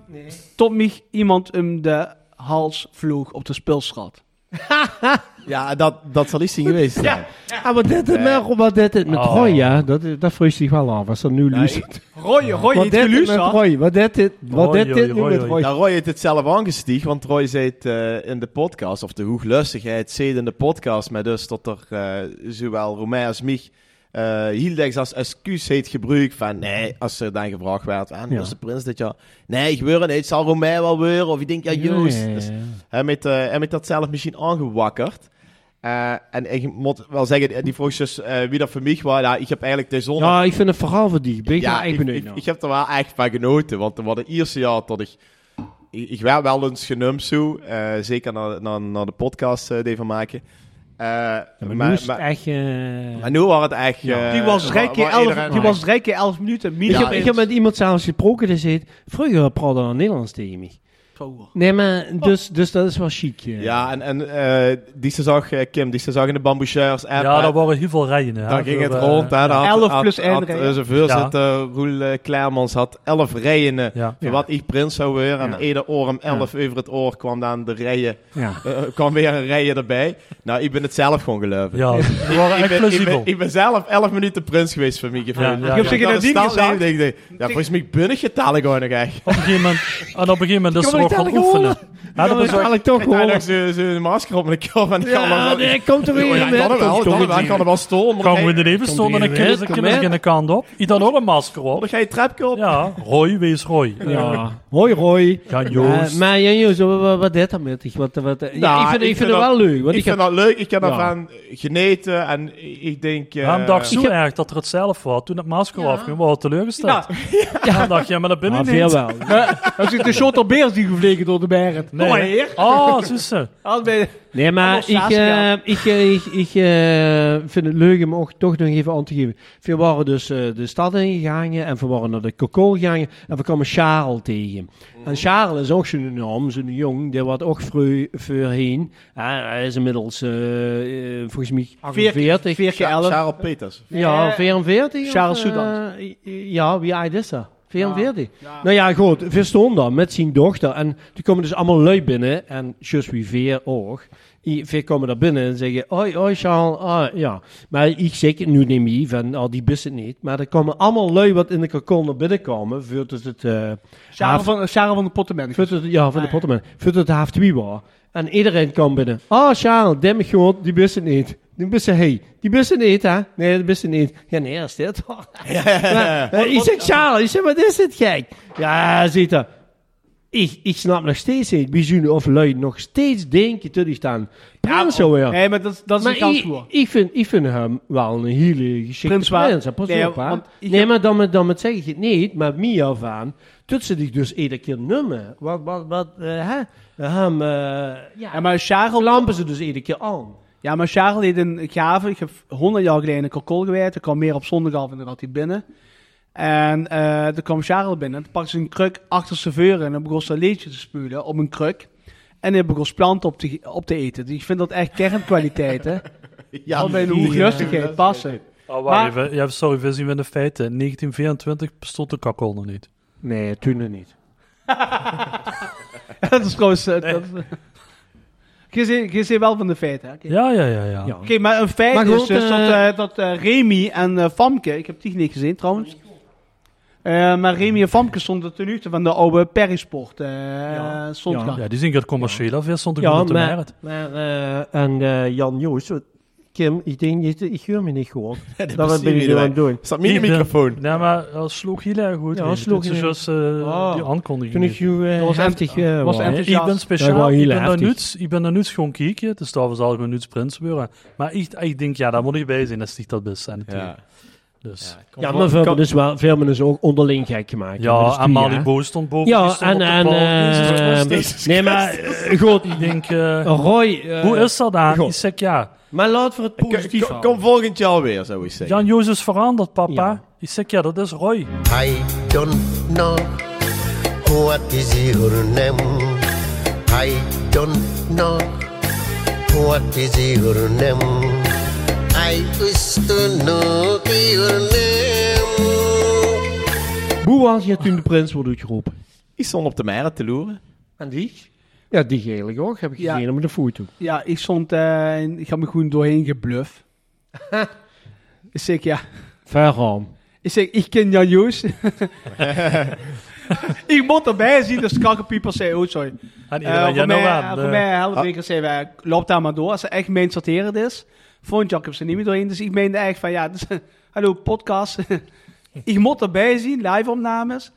tot mij iemand hem de hals vloog op de speelstraat.
Ja, dat, dat zal iets zien geweest zijn.
Ja.
Ah, wat deed het met, wat deed het met
Oh.
Roy, ja? Dat, dat vrees ik wel af, als dat nu luistert.
Roy, Roy,
wat
iets
deed het met
geluisterd?
Roy? Wat deed dit, wat deed dit nu met Roy?
Nou, Roy heeft het zelf aangestiegen, want Roy zei het eh, in de podcast, of de hoeglustigheid, zei het in de podcast, maar dus dat er eh, zowel Romein als mich eh Hildex als excuus heeft gebruikt van nee, als er dan gevraagd werd aan
Ja.
de prins dit jaar, nee, gebeuren niet, het zal Romein wel weer, of ik denk ja,
Ja,
Joost.
ja, ja,
Dus
ja.
hij heeft, eh, hij heeft dat zelf misschien aangewakkerd. Eh, en ik moet wel zeggen, die vroeg dus eh, wie dat voor mij was. Ja, ik heb eigenlijk de zon
Ja, ik vind het verhaal van die. Ben ik ja,
Oh. ja,
echt
ik,
benieuwd
ik, ik heb er wel echt van genoten. Want er was het eerste jaar dat ik... Ik, ik werd wel eens genoemd zo. eh, zeker naar, naar, naar de podcast eh die we maken. Eh,
Maar,
maar-
nu is het
maar-
echt... eh,
maar nu was het echt... eh,
die was
wa-
drie
wa-
keer
iedereen-
elf, die was drie keer elf minuten.
ik,
Mina
heb, ik heb met iemand zelfs gesproken die zei... Vroeger praatte hij Nederlands tegen mij. Nee, maar dus, dus dat is wel chic. eh.
Oh. Ja, en, en eh, die ze zag, eh, Kim, die ze zag in de bamboecheurs app. eh,
Ja,
hè.
daar waren heel veel rijen. hè,
Daar ging
voor,
het
eh,
rond. Hè. Daar had,
11
had-
plus één
had,
rij.
eh, zijn voorzitter, Roel eh, Kleermans, had elf rijen. eh,
Ja.
Voor wat ik prins zou weer. En ieder oor om elf over het oor kwam dan de rijen.
Ja.
eh, kwam weer een rijen erbij. Nou, ik ben het zelf gewoon geloven.
Ja,
Ik-
we waren
ik,
echt
ben, ik,
plausibel.
ben, ik ben zelf elf minuten prins geweest voor mij. Ja,
ja, ja. Ik heb zeker
dat
nadien gezegd.
Ja, volgens mij ben ik getallen gewoon nog echt.
Op een gegeven moment, en op een gegeven moment is
Ik
ze
kan
ook
het
gaan
eigenlijk
oefenen.
horen.
Ja,
Oh,
dat is
eigenlijk
toch
gewoon. Ik heb nog zo'n masker op mijn keel van ik
Ja,
kan er wel-
nee, komt er weer
Ja,
in,
Ik
hè.
kan er wel, ik
Komt-
kan er
komt
wel,
er
ik kan er wel stonden. maar dan
Gaan
ga
we
je-
in de even stonden en kunnen ze kunnen de kant op. Ik dan ook een masker op. Dan
ga je trapje op.
Ja, Roy, wees Roy.
Ja. Hoi, Roy.
Ja, Joost.
Eh, maar ja, Joost, wat, wat, wat deed dat met je? Wat, wat, ja,
Nou,
ik vind, ik vind het wel
dat-
leuk. Want
ik, vind
heb-
dat leuk. Ik heb
Ja.
ervan geneten. En ik ik denk... eh,
Ja, dacht zo
ik heb-
erg dat er het zelf was. Toen het masker afging, was het teleurgesteld.
Nou,
Ja. dacht je, maar dat binnen
Maar
niet.
Ah, veel wel.
Dan zit de shot op beers die gevlegen door de bergen.
Nee.
Kom maar hier.
Oh, zo is ze.
Al bij-
Nee, maar
Anders
ik, eh,
Saskia.
ik, eh, ik, ik eh, vind het leuk om ook toch nog even aan te geven. We waren dus eh, de stad ingegaan en we waren naar de Kokol gegaan en we kwamen Charles tegen. En Charles is ook zo'n naam, zo'n jong, die wat ook vroeg- voorheen. Eh, hij is inmiddels eh, eh, volgens mij 48.
Charles Peters.
Ja, 44.
Charles
of, eh,
Soudant.
ja, wie hij is dat? 44. Nou ja, goed, we stonden daar met zijn dochter. En die komen dus allemaal lui binnen. En just wie veer ook. I- Veer komen daar binnen en zeggen, oi, oi, Charles, ah, ja. Maar ik zeg het nu niet meer, van, ah, die best het niet. Maar er komen allemaal lui wat in de kakon naar binnen komen. Voor het, het, eh,
Sarah
haaf-
van, Sarah van de Pottenman.
voor het, ja, van de pottenman. Voor het half twee was. En iedereen kwam binnen. Ah, Charles, demmig gewoon, die best het niet. Die best hey, die best het niet, hè? Nee, die best het niet. Ja, nee, dat is dit. Maar, eh, ik zeg, Charles, ik zeg, wat is dit gek? Ja, ziet dat. Ik, ik snap nog steeds niet, bijzonder of lui nog steeds denken te dicht aan prins zo weer.
Nee, maar dat, dat is
Maar
een kans
ik,
voor.
ik, vind, ik vind hem wel een hele geschikte
Prins
prins.
waar-
hè. Pas
Nee,
op, hè.
want ik
Nee,
heb-
maar dan met, dan met zeg ik het niet, maar Mia van, tussen die dus iedere keer nummer. Wat, wat, wat, eh, hè? Hem, eh, ja.
Ja, maar Charles...
Lampen ze dus iedere keer aan.
Ja, maar Charles deed een gave. Ik heb 100 jaar geleden een kokol gewijd. Er kwam meer op zondag af en dan had hij binnen. En eh toen kwam Charles binnen. Toen pakte ze een kruk achter zijn veuren en dan begon ze een liedje te spelen op een kruk. En en heb ik ons plant op te, op te eten. Dus ik vind dat echt kernkwaliteit, hè.
Ja,
Al bij de
die,
hooglustigheid
eh,
passen.
Oh,
Maar-
wacht even. Ja, sorry, we zien weer de feiten. 1924 bestond de kakkel nog niet.
Nee, toen nog niet.
dat is trouwens... eh, dat- Je zit- je zit wel van de feiten, hè. Oké.
Ja, ja, ja, ja.
Oké, maar een feit
Maar
is
goed, eh,
dus dat, eh, dat eh, Remy en eh Famke, ik heb die niet gezien trouwens. Eh, maar Remy en Famke stonden ten uurte van de oude Perisport. eh stond daar.
Ja, die zien ik het commercieel af. Weer stond ik
Ja,
op de
maar,
markt.
maar eh, en eh, Jan Joos, wat- Kim, ik denk dat je- ik hoor me niet gewoon. dat ben ik nu aan het doen.
Nee, maar dat sloeg heel erg goed.
Ja,
in.
sloeg
Dit is
heel-
zoals eh, die aankondiging.
Toen ik
is.
jou, eh, Dat was heftig, ent- eh, was was. enthousiast.
Ik ben
Dat
speciaal,
was heel
ik ben daar
heftig.
nuts, ik ben daar nuts gewoon kijken. Dus daar zal ik mijn nuts prins worden. Maar ik, ik denk, ja, daar moet ik bij zijn. Dat is niet dat best. En natuurlijk. Dus.
Ja, maar veel is wel, veel is ook onderling gek gemaakt.
Ja,
Maar dat is
en
prima,
Malibu
dus hè.
stond boven, die
Ja,
stond op
en,
de
en
bal.
eh,
Jezus Christus.
nee, maar eh, goed,
Ik denk,
Roy, eh,
hoe is dat aan?
Goh.
Ik zeg ja.
Maar laat voor het
positief Kom volgend jaar weer, zou ik zeggen.
Jan-Jozef verandert, papa. Ik zeg ja, dat is Roy.
Eh,
I don't know what is your name. I don't know what is your name. I used to know your name.
Hoe was je toen de prins wordt uitgeroepen?
Die stond op de meren te loeren.
En die? Ja, die gele ook, heb ik
Ja.
gezien op de foto.
Ja, ik stond, eh, in- ik had me gewoon doorheen gebluff. ik zeg ja.
Verhaal.
Ik zeg, ik ken Jan Joos. ik moet erbij zien, dus kakkenpiepers zei, oh sorry.
En
Eh,
iedereen, ja,
voor,
nou
mij,
aan,
voor
eh.
mij helpt
Ah.
ik zei, wij, eh, loop daar maar door. Als er echt mijn sorterend is, vond Jacobs er niet meer doorheen. Dus ik meende echt van, ja, dus, hallo podcast. ik moet erbij zien, live opnames.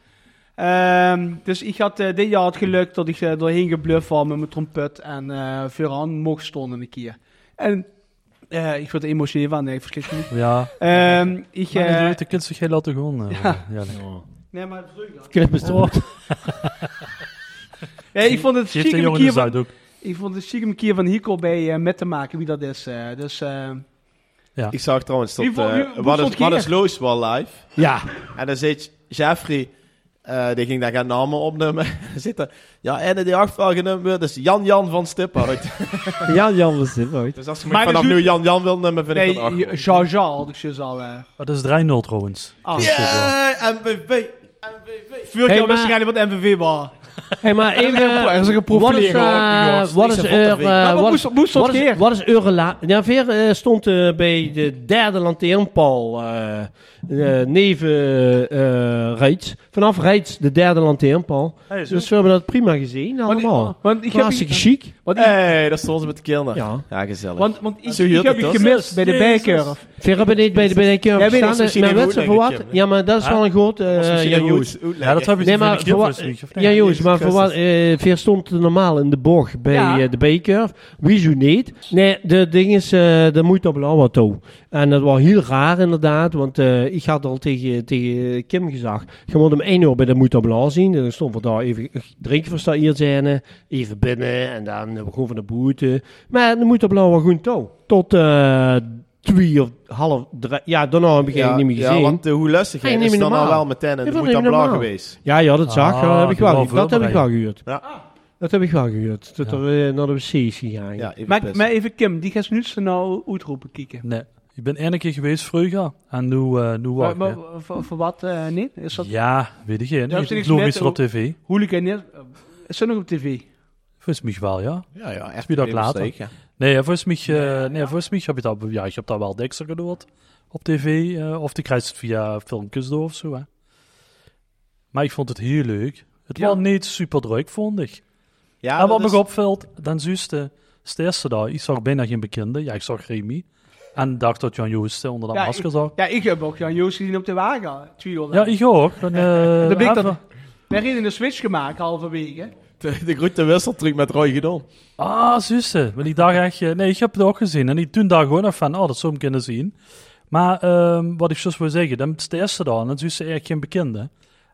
Ehm, dus ik had eh, dit jaar het geluk dat ik eh, doorheen gebluft was met mijn trompet en eh vooraan mocht stonden een keer. En eh, ik word er emotioneel van, nee, ik verschrik me niet.
Ja.
Ehm, ik,
Maar
eh,
je weet, je kunt zich heel laten gewoon. eh,
Ja.
ja, nee.
Nee, maar vreugde.
Knip is erop.
Ja, ik vond het
Geef de
chic om een
jongen
keer
de
van,
zuidhoek.
ik vond het chic om een keer van Hico bij eh, met te maken wie dat is. eh, dus, eh,
Ik zag trouwens dat
Wie vond- wie-
eh
wie
Wat
vond
is, Wat is
Keer?
Loos wel live.
Ja.
En dan zit Jeffrey, eh, die ging daar gaan namen opnemen. Dan zit er, ja, en die achtervragen nummer, dat is Jan-Jan dus van Stiphout.
Jan Jan was dit ooit.
dus als je
Maar
me vanaf
dus u-
nu Jan-Jan wil nummer, vind ik
nee,
dat ook.
J- Jean-Jean had ik dus al. eh
Maar dat is 3-0 trouwens.
af.
Dus, eh,
MVV.
Vuur
Hey,
jou
maar-
waarschijnlijk wat MVV was.
Hé, maar even... eh,
Er is een geprofileerd.
Wat is er... eh, wat is-
Moest
wat is- Wat is eure la- Ja, Veer eh, stond eh, bij de derde lanteernpaal eh, eh, neven eh Reits. Vanaf Reits de derde lanteernpaal.
Hey, zo.
dus we hebben dat prima gezien allemaal.
want ik heb-
Hartstikke chic.
Hé, hey, dat stond ze met de kilder. Ja, gezellig.
Want, want ik,
Zo
ik
hield
heb
het
je
toch?
gemist bij de
Jezus.
bijcurve.
Veer hebben niet bij de bij de keer
Jij weet
gestaan,
ons misschien
maar
niet
weet ze
hoe
voor wat?
uitleggen, Kim.
Ja, maar dat is
Huh?
wel een groot... eh,
Ons misschien
Jan
niet
Joos.
hoe uitleggen. Ja, dat heb je
Nee,
van
maar
de
voor
Kim
wat...
misschien, of niet?
Ja, Joos,
Jezus
maar voor wat... eh, Veer stond normaal in de bocht bij
Ja.
eh, de B-curve. Wieso niet? Nee, de ding is, eh dat moet op blauw toe. En dat was heel raar inderdaad, want eh, ik had al tegen, tegen Kim gezegd, je moet hem één uur bij de moet op blauw zien. En dan stond we daar even drinken voor hier zijn, eh, even binnen en dan eh, gewoon van de boete. Maar de moet op blauw was goed touw. Tot eh twee of half drie, ja, daarna heb ik
Ja,
eigenlijk niet meer
ja,
gezien.
want, eh, hoe lustig hij
Nee,
is
niet meer
dan al
normaal.
wel meteen in de
Ja, dat
Moet
is
aan
niet
Blauw
normaal.
geweest.
Ja, ja, dat zag ik.
Ah,
dat eh, heb ik
die
wel,
wel
gehuurd. dat heb ik wel gehuurd.
Ja.
Dat heb ik wel gehuurd. Dat er eh, naar de wc's gegaan.
Ja,
Maar, maar even Kim, die gaat nu zo nou uitroepen kieken.
nee. Ik ben één keer geweest vroeger. En nu, eh nu
Maar,
wacht
maar
ik, hè.
voor, voor wat eh niet? Is dat,
Ja, weet ik
Daar heeft
niet.
er niks
Ik
met,
logisch weer op
hoe-
tv.
Hooliganisme. Is dat nog op tv?
Volgens mij wel, ja.
Ja, ja, echt
Wie dat
een
later.
steek, ja.
Nee, ja, volgens mij, eh, nee, volgens mij heb je dat, ja, ik heb dat wel dekster gedoord op tv. eh, of die krijgt het via filmpjes door of zo. Hè. Maar ik vond het heel leuk. Het was niet super druk, vond ik.
Ja,
en wat
dat
me
is-
opvalt, dan zuste, sterste daar. Ik zag bijna geen bekende. Ja, ik zag Remy. En dacht dat Jan Joost onder dat
Ja,
masker
ik,
zag.
ja, ik heb ook Jan Joost gezien op de wagen. Twee uur
Ja,
lang.
ik ook. Dan, eh,
Dan ben ik
even-
dat... Wij reden een switch gemaakt halverwege.
De, de grote wisseltruc met Roy Gedon.
Ah, zussen. Want ik dacht echt... eh, Nee, ik heb het ook gezien. En ik toen daar gewoon even van... Oh, dat zou hem kunnen zien. Maar ehm, wat ik zo wil zeggen... Dan is de eerste dag. En dan zussen eigenlijk geen bekende.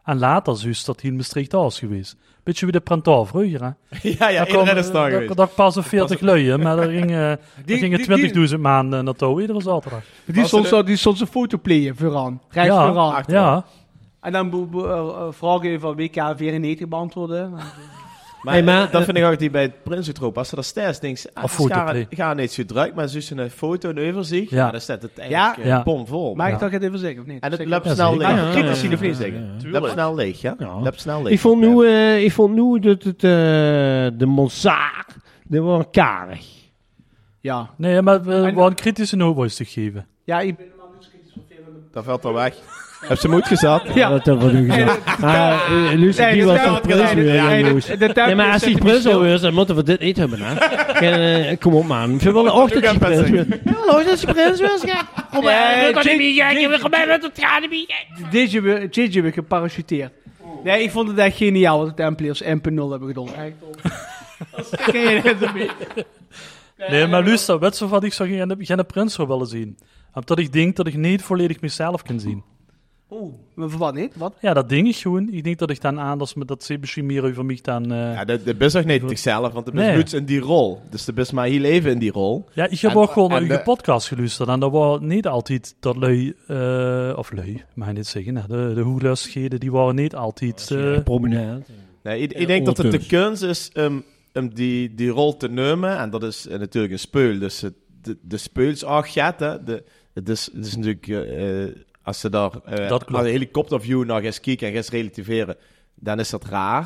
En later zus dat hij in Maastricht al is geweest. Beetje wie de Prental vroeger, hè?
Ja, ja, iedereen is daar geweest.
Dat pas een 40 luien. Maar daar gingen, eh,
Die-
daar gingen
die- die-
20.000 maanden naartoe. Iedere zaterdag.
Die stond, zo, die stond zijn fotoplayen vooraan. Rechts
Ja,
vooraan.
ja.
En dan bo- bo- eh, eh, vragen van WK 94 beantwoorden.
Maar,
Hey, maar,
dat
eh,
vind ik ook die bij het Prinsentroop. Als ze dat stijs denkt, ah,
Of
dat is
foto,
gaar-
nee.
gaar niet zo druk, maar ze een foto en overzicht.
Ja.
Ja, dan staat het eigenlijk
Ja.
ja.
Ja.
vol.
Mag ik dat het even zeggen of niet?
En het
Zeker.
loopt
Ja,
snel
zeker.
leeg.
Ja, ja,
Kritisch
ja,
zien of niet
ja,
zeggen.
ja, ja.
Het
Tuurlijk.
loopt snel leeg, ja. Het loopt snel leeg.
Ik vond nu, eh, ik vond nu dat het, eh, de Mozart, die waren karig.
Ja.
Nee, maar we we waren kritisch in hoe te geven.
Ja, ik
Dat valt al weg. Heb ze moed gezet?
Ja. Dat hebben we nu gezegd. Ah, eh, Lucie,
Nee,
die
dat
was
is
een
wel
prins
wat
weer,
gedaan.
die
Ja,
moes.
de- de
Ja, eh, maar als die prins al is, dan moeten we dit niet hebben, hè. En, eh, kom op, man. We willen ook dat die prins weer- Hallo, dat is de prins weer, schat. Kom maar,
Nee,
we gaan
Jake-
niet meer kijken, we
Jake-
gaan bij met de tranen niet kijken.
Gigi weer- Gigi weer geparachuteerd. Nee, ik vond het echt geniaal dat de Templiers MP0 hebben gedaan. Oh. Echt Ken je net een beetje.
Nee, maar luister, weet je wat ik zou gaan, gaan de prins zo willen zien? Omdat ik denk dat ik niet volledig mezelf kan zien.
Oeh, maar voor wat niet? Wat?
Ja, dat ding is gewoon. Ik denk dat ik dan anders met dat ze misschien meer over mij dan... eh,
Ja, de, de bus ook niet zichzelf, want de bus
Nee.
doet in die rol. Dus de bus maar heel even in die rol.
Ja, ik heb
En-
ook gewoon naar
en
uw
de-
podcast geluisterd. En dat was niet altijd dat lui, eh, of lui, mag je niet zeggen. hè. De, de hoedanigheden, die waren niet altijd... eh,
Prominent.
Nee, ik, ik
Ja,
denk dat het de
ondertussen.
kunst is om om die, die rol te nemen. En dat is eh, natuurlijk een speul. Dus het, de, de speulsarget, hè, de, het, is, het is natuurlijk... eh, eh, als ze daar eh
Dat klopt.
aan een helikopterview naar gaan kijken en gaan relativeren, dan is dat raar.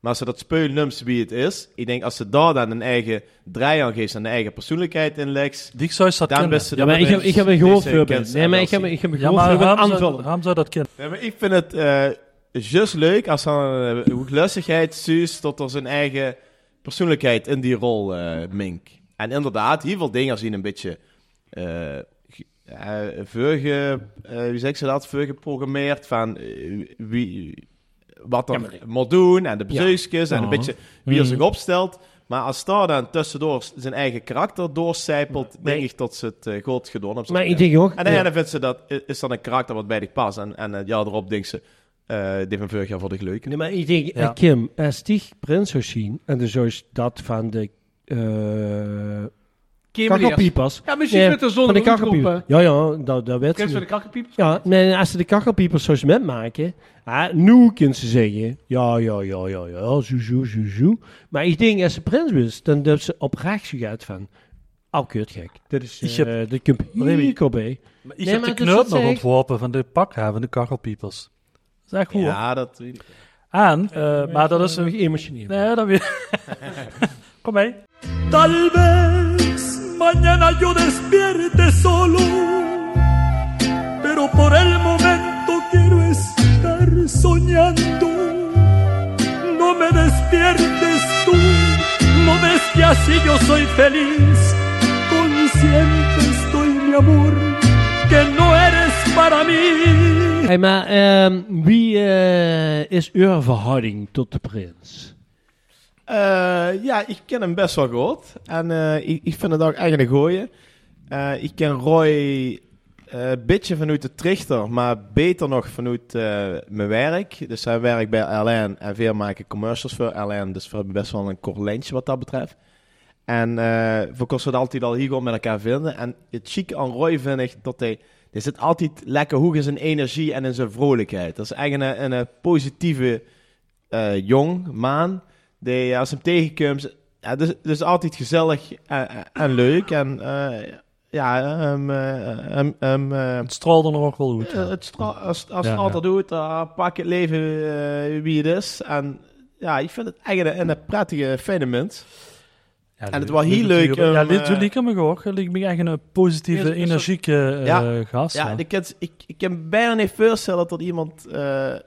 Maar als ze dat speul neemt wie het is, ik denk als ze daar dan een eigen draai aan geeft, en een eigen persoonlijkheid in legt,
die zou dat
dan
kennen.
is
Ja,
ze dan
maar ik heb,
ineens
ik heb een gehoord
deze
voorbeeld.
kunst
Nee, maar
aan
ik heb,
wel
ik heb een
ja,
gehoord
maar
voorbeeld
waarom zou,
aanvullen.
waarom zou dat kennen?
Nee, maar ik vind het eh juist leuk als dan uh, hoeklustigheid Suus tot er zijn eigen persoonlijkheid in die rol eh mink. En inderdaad, heel veel dingen zien een beetje eh eh veuge, eh, hoe zeg ze dat, geprogrammeerd van eh, wie, wat er moet doen en de bezoekjes en
Ja.
een beetje wie er zich
Mhm.
opstelt. Maar als daar dan tussendoor zijn eigen karakter doorcijpelt, denk ik dat ze het eh, goed gedaan hebben.
Maar ik denk ook-
En dan
ja.
dan vindt ze dat, i- is dan een karakter wat bij die past. En, en het jaar erop denkt ze, eh dit van vorig jaar vond ik leuk.
Nee, maar ik denk,
Ja.
eh, Kim, als die prins zou zien, en dus is dat van de... eh
Kim Leers.
kakkelpiepers.
Ja, misschien met de zon
van de
rondroepen.
kakkelpiepers. Ja, ja, dat, dat werd
Kunst
ze.
van de kakkerpiepers?
Ja, nee, als ze de kakkelpiepers zoals met maken, ah, nu kunnen ze zeggen, ja, ja, ja, ja, ja, zo, zo, zo, zo. Maar ik denk, als ze prins was, dan dat ze oprecht zo gaat van, oh, kut, gek. Dat is,
Ik
eh
heb-
dat komt hier op, hè.
Maar Ik
Nee,
heb
maar
de
dat is
knoop
wat
nog
zij-
ontworpen van de pakhaven, de kachelpiepers. Dat is echt goed. hoor.
Ja, dat weet ik.
Aan, eh, maar dat is...
een emotioneel.
Nee, dat weer... Kom mee.
Tal vez mañana yo despierte solo, pero por el momento quiero estar soñando. No me despiertes tú, no ves que así yo soy feliz. Consciente estoy, mi amor, que no eres para mí.
Hey, maar ehm, wie eh, is uw verhouding tot de prins?
Eh, ja, ik ken hem best wel goed. En eh, ik, ik vind het ook eigenlijk een gooie. Eh, ik ken Roy eh, een beetje vanuit de trichter, maar beter nog vanuit eh, mijn werk. Dus hij werkt bij Alain en veel maken commercials voor Alain. Dus we hebben best wel een kort lijntje wat dat betreft. En eh we konden het altijd al hier gewoon met elkaar vinden. En het chic aan Roy vind ik dat hij... Er zit altijd lekker hoog in zijn energie en in zijn vrolijkheid. Dat is eigenlijk een, een, een positieve eh, jong man. Die eh, als hem tegenkomt... Ja, dus, dus altijd gezellig en, en- en leuk. En eh, ja, hem... eh, hem- hem, eh,
Het straalde nog wel goed.
eh, het stra- als als
Ja,
het altijd doet, dan pak het leven eh, wie het is. En ja, ik vind het eigenlijk een, een prettige fijne mens. en het was heel leuk. om,
ja, dit
eh,
doe ik me ook. Ik ben echt een positieve,
Is- is dat-
energieke eh, gast.
Ja,
Ja,
Ik, kan, ik, ik kan bijna niet voorstellen dat iemand eh, eh,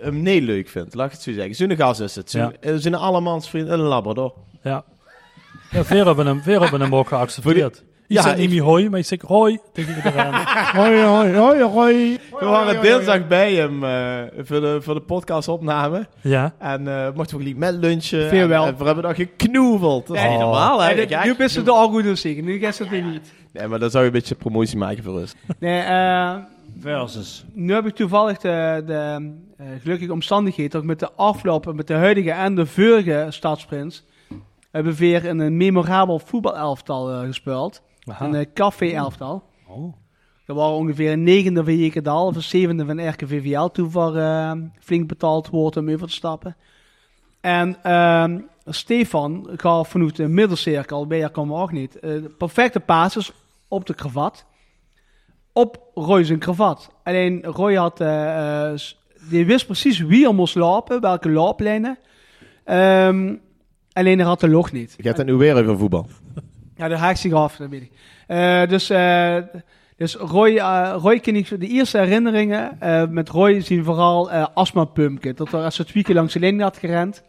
hem niet leuk vindt. Laat ik het zo zeggen. Zo'n gast is het. Zo'n,
Ja.
eh, zo'n allemans vriend, een labrador.
Ja. Ja, veel hebben hem, veel hebben hem ook geaccepteerd. Ik
Ja,
zeg niet
ik-
meer hoi, maar ik zeg hoi tegen iedereen.
Hoi, hoi, hoi, hoi.
We waren dinsdag bij hem eh, voor, de, voor de podcastopname.
Ja.
En eh mochten we ook niet met lunchen.
Veel
En,
wel.
eh, we hebben dan geknoeveld. Dat is
Nee,
niet normaal, hè?
nee, dit-
Kijk.
nu best het de al goed zeggen. Nu gaat het weer niet.
Nee, maar dan zou je een beetje promotie maken voor ons.
Nee, eh,
Versus.
Nu heb ik toevallig de, de eh, gelukkige omstandigheid dat ik met de afloop, en met de huidige en de vorige stadsprins, hebben weer in een memorabel voetbalelftal eh, gespeeld.
Aha.
Een eh, café-elftal.
Oh.
Dat waren ongeveer een negende van Jekerdal of een zevende van RKVVL toen voor eh, flink betaald wordt om over te stappen. En ehm, Stefan gaf vanuit de middelcirkel, bij haar kwam er ook niet, eh, de perfecte passes op de kravat. Op Roy zijn kravat. Alleen Roy had, eh, eh, s- die wist precies wie er moest lopen, welke looplijnen. Ehm, alleen hij had de log niet.
Je hebt het nu weer over voetbal.
Ja, de haakt zich af, dat weet ik. Eh, dus, eh, dus Roy, eh, Roy ken ik de eerste herinneringen eh, met Roy zien we vooral eh astma pumpkin. Dat er als het weekend langs de lijn had gerend.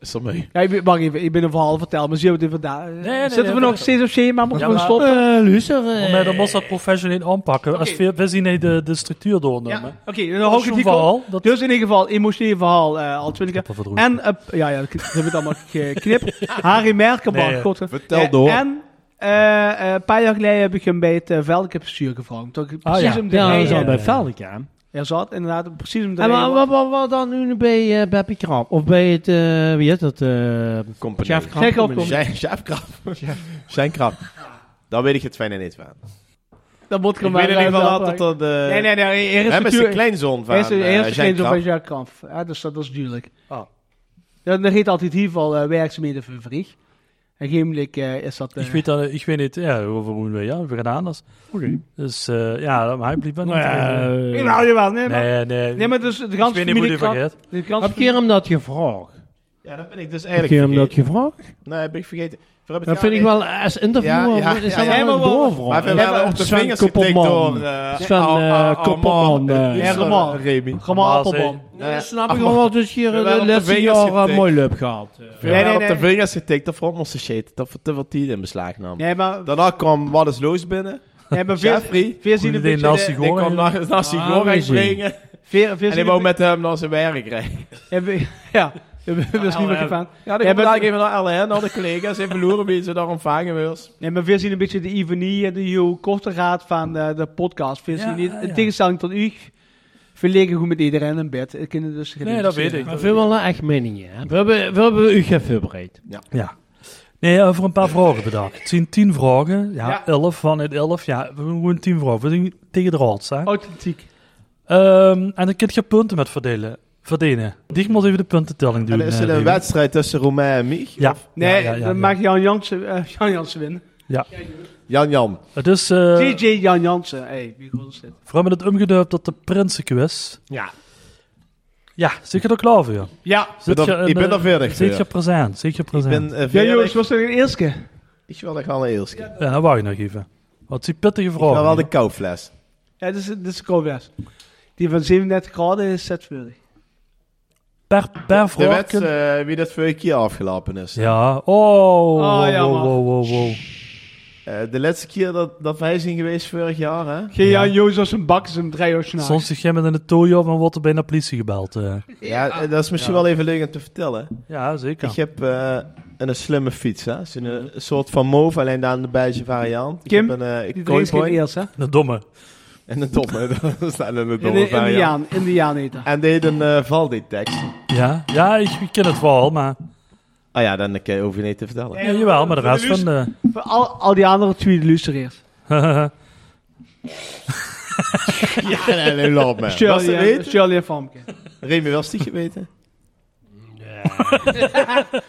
Is dat mee?
Ja, ik, ben- wacht even, ik ben een verhaal verteld, maar zien we dit vandaag? Zitten we nog steeds op schema? Moeten we
Eh,
stoppen?
Maar dan moest dat professioneel aanpakken. Als we, we zien hier de, de structuur doornemen.
Oké, dan
Dat
hou
is
ik
een
die
verhaal,
verhaal. Dus in ieder geval, emotioneel verhaal eh, al twintig keer. En, eh, ja, ja, ik heb het allemaal geknipt. Harry Merkelbach.
Nee,
God, eh.
vertel
Eh,
door.
En eh, eh, een paar jaar geleden heb ik hem bij het uh, bestuur gevraagd. Toch Precies
Ah, ja.
om de
Ja,
reden-
dat is al bij Veldik, ja.
Ja, zat inderdaad precies om de
En
reden
maar
waar-
wat, wat, wat dan nu bij eh, Beppie Krab? Of bij het, eh, wie heet dat? eh Chef Krab.
Zijn
Company.
Zijn zijn krap. Zijn krap. Dan weet ik het fijn en niet van.
Dat moet
Ik weet in ieder geval altijd dat... eh,
Nee, nee, nee. hij is
Rem is de
natuurlijk-
kleinzoon van
Hij is de-
eh, Oh.
hij is de
Jacques
kleinzoon van
Krap.
Jacques Kamp. Ja, dus dat is duidelijk. Ja, dan heet altijd in ieder geval eh, werkzaamheden voor Vries. En geemelijk eh, is dat... eh,
Ik weet, dat, ik weet niet ja, over hoe we ja, we gaan anders.
Oké.
Dus eh, ja, maar hij blijft wel
Nou
niet.
ja,
eh,
ik hou je wel, nee, maar-
nee, nee.
Nee, maar dus de ganse
Ik weet niet hoe die
familie
vergeet.
Krab- de ganse
Heb je hem dat gevraagd?
Ja, dat ben ik dus
Heb je
eigenlijk
hem dat
vergeten.
gevraagd?
Nee, heb ik vergeten. Voor heb ik
Dat vind ik
jou-
wel als interviewer
Ja, ja,
is
ja,
dat
ja,
wel
maar
een
wel-
doorvraag.
maar we
Ja,
hebben op de
Sven
vingers getikt
Koppelman.
door, eh,
Sven
Ar- Ar- Ar-
eh, Koppelman.
Armand.
eh.
Ja, Roman. Remy.
Roman Appelboom.
Ja, dat snap ik wel wat dus hier
eh. We
eh,
hebben
de
op de
laatste
vingers
jaren
getikt.
mooi leup gehad. eh.
We hebben op de vingers getikt, dat vond onze shit. Dat we te veel tijd in beslag nam.
Nee, maar...
Daarna kwam Wallace Loos binnen.
Nee, maar veel-
Jeffrey.
veel zien een
Die
beetje
Nassi
de-
Goring. Die kwam na- Nassi
Ah,
Goring
amazing.
brengen.
Veel- veel
En
zien
die
een
wou met hem naar zijn werk rijden.
Hebben we- Ja, we hebben we misschien wel gedaan.
Ja,
Jij
dan
bent-
gaan even naar LN, naar de collega's. Even loeren wie ze daar ontvangen wil.
Nee, maar we zien een beetje de ironie en de heel korte raad van eh, de, de podcast. We zien
Ja,
niet,
ja, ja.
in tegenstelling tot u, we liggen goed met iedereen in bed. Ik ken het dus geen interesseer.
Maar veel wel een echt mening, hè. We hebben, we hebben u geverbreid.
Ja.
Ja. Nee, eh, voor een paar vragen bedacht. Het zijn tien vragen. Ja,
Ja.
elf van het elf. Ja, we doen gewoon tien vragen. We doen tegen de rots, hè.
Oh.
Ehm,
Authentiek.
en dan kun je punten met verdelen. Verdienen. Die moet even de puntentelling doen.
En is
eh,
er een
David.
wedstrijd tussen Romain en Mich?
Ja.
Nee,
ja, ja, ja,
dan
ja.
maakt Jan Jansen, eh, Jan Jansen winnen.
Ja.
Jan-Jan.
Het is... eh,
DJ Jan Jansen. hey, wie goed is dit?
Vooral met het omgedurpt tot de Prinsenquiz.
Ja.
Ja, zit je er klaar voor?
Ja.
Zit
Ik ben
je
er-
in,
ik ben
eh,
er verder
Zit je
voor.
present, zit je present.
ben, eh, Ja, verder. jongens,
was er een eerste?
Ik wil dat gaan eerst. Ik
Ja, dan wou je nog even. Wat die pittige vraag.
wil wel de koufles.
Ja, dit is, dit is Kouwers. Die van 37 graden is zetvurig.
Per, per
De
vraag.
wet eh, wie dat vorige keer afgelopen is.
Ja, oh,
Ah,
wow,
ja,
wow,
man.
wow, wow, wow.
Eh, de laatste keer dat, dat wij zijn geweest vorig jaar, hè?
Geen Jan Joos als een bak is een drie uur s'nachts.
Soms zit jij met een tooi op en wordt er bijna politie gebeld. eh.
Ja, eh, dat is misschien wel even leuk om te vertellen.
Ja, zeker.
Ik heb eh, een, een slimme fiets, hè? Het is een, een soort van move, alleen dan de beige variant.
Kim,
ik heb een
die
uh,
drinkt geen eels, hè?
Een domme.
En een domme, dat is dan een domme
Indi-
variant.
Indiaan, Indiaan heet dat.
En deed een eh valdetectie.
Ja, ja ik, ik ken het wel, maar...
Ah ja, dan eh, hoef je niet te vertellen.
Ja, jawel, maar de rest van de...
Voor Al, al die andere tweede luisterers.
ja, nee, nee, laat maar. Was
Shirley
dat
en-
weten?
Shirley en Famke.
Remy, was die geweten?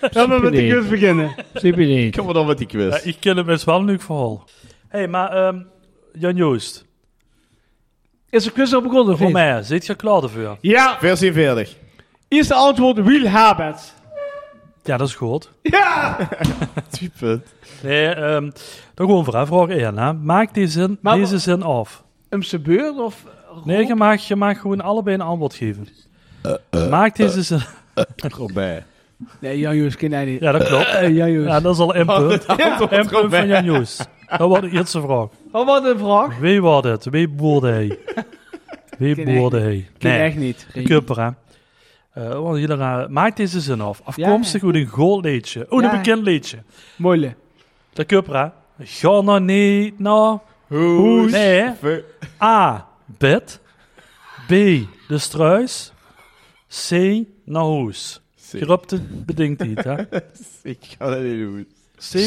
Laten we met de quiz beginnen.
Super niet.
Kom maar dan met die quiz.
Ja, ik ken het best wel een leuk verhaal. Hé, hey, maar ehm, Jan Joost.
Is de quiz al begonnen?
Voor mij, zit je klaar ervoor?
Ja,
Versie 40.
eerste antwoord Will Habert.
Ja, dat is goed.
Ja!
Twee punt.
Nee, ehm, dan gewoon voor, hè. vraag 1. Hè. Maak die zin, deze zin af.
Een sebeur of...
Nee, je mag, je mag gewoon allebei een antwoord geven. Eh, Maak deze zin...
Robijn.
Nee, Jan Joos, geen idee.
Ja, dat klopt.
Eh, Jan Joos.
Ja, dat is al een punt.
Oh, dat antwoord
Een punt
Robijn.
van Jan Joost. Dat was de eerste vraag.
Oh, wat een vraag.
Wie was het? Wie boerde hij? Wie
Ken
boerde
echt
hij?
niet. Ken echt niet.
De kupper, hè? Eh, wat een hele rare- Maak deze zin af. Afkomstig uit een gold liedje. Oh,
Ja.
een bekend liedje.
Moeilijk.
De kupper, hè? Ga nou niet naar...
Hoes.
Nee. A. Bed. B. De struis. C. Naar hoes. Gerupte bedingt iets, hè?
ik ga dat niet doen.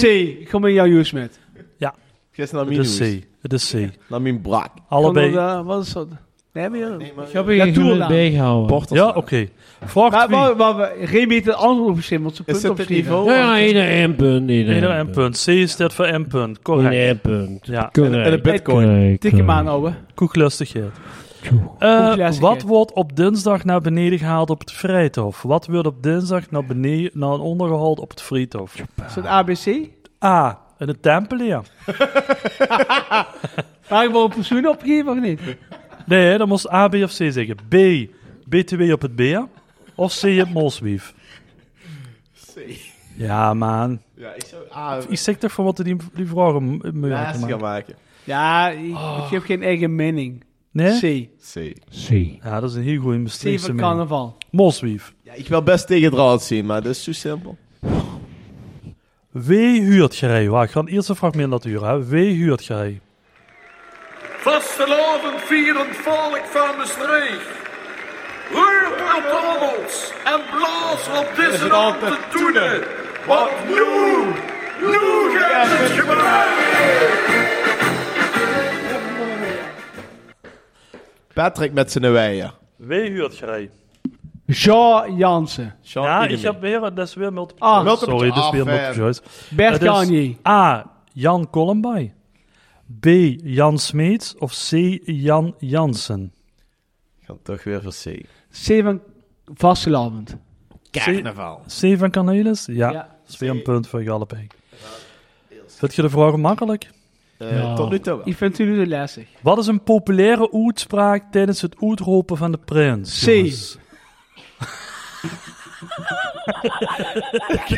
C. Kom maar Jan Joos met.
Ja.
Gisteren naar
Het
mijn
is
hoes.
C. Het is C.
Naar mijn brak.
Allebei.
Kom dan, eh, Wat is dat? Nee, maar...
Ik heb hier gewoon bijgehouden.
Ja, oké. Vraag
maar, maar, maar, maar Remy heeft het antwoord opgeschreven, want ze
Is dit
punten
het
opgeschreven.
niveau? Ja, ja,
ieder M-punt.
Ieder M-punt. C staat voor M-punt. Correct.
Een M-punt.
Ja.
Correct. En- en een bitcoin. Correct.
Tik
Hmm.
hem aan,
nou,
ouwe.
Koeklustigheid. Eh, wat wordt op dinsdag naar beneden gehaald op het vrijthof? Wat wordt op dinsdag naar beneden naar onder gehaald op het vrijthof?
Is dat ABC?
A. In de tempel, ja.
Waar je wel een persoon opgeven of niet?
Nee, hè, dan moest A, B of C zeggen. B. BTW op het BA. Of C. Het molswief. Ja, man.
Ja, ik zou... Ah,
Ik zeg toch van wat die, die vragen m- moeilijk
naast
maken.
gaan maken.
Ja, ik, ik heb geen eigen mening.
Nee?
C. C.
C.
Ja, dat is een heel goede
C
bestreekse
van
mening.
carnaval.
Molswief.
Ja, ik wil best tegen draad zien, maar dat is zo simpel.
W. Huurtgerij. Wacht, ik ga het eerste fragment laten huren. Hè. W. Huurtgerij.
Vastelavond vieren volk van Maastricht. Roer op de rommels en blaas op deze nacht te toenen. Want nu, nu gaat het gebeuren.
Patrick met zijn wijen.
W. Huurtgerij.
Jean Jansen.
Ja,
Ah,
ik
Iedereen.
heb weer, dat is weer multiple
Ah.
choice.
Multiple
Sorry, dit is weer
choice. Ah,
multiple choice.
Bert
Het is
Kanye.
A. Jan Columbay. B. Jan Smeets. Of C. Jan Jansen.
Ik ga toch weer voor C.
C van vastelavond.
Carnaval.
C. van Cornelis? Ja.
Ja.
Dat is weer een punt voor Gallepij. Vind je de vraag makkelijk?
Ja. Ik vind het nu te lastig.
Wat is een populaire uitspraak tijdens het uitroepen van de prins?
C.
jongens?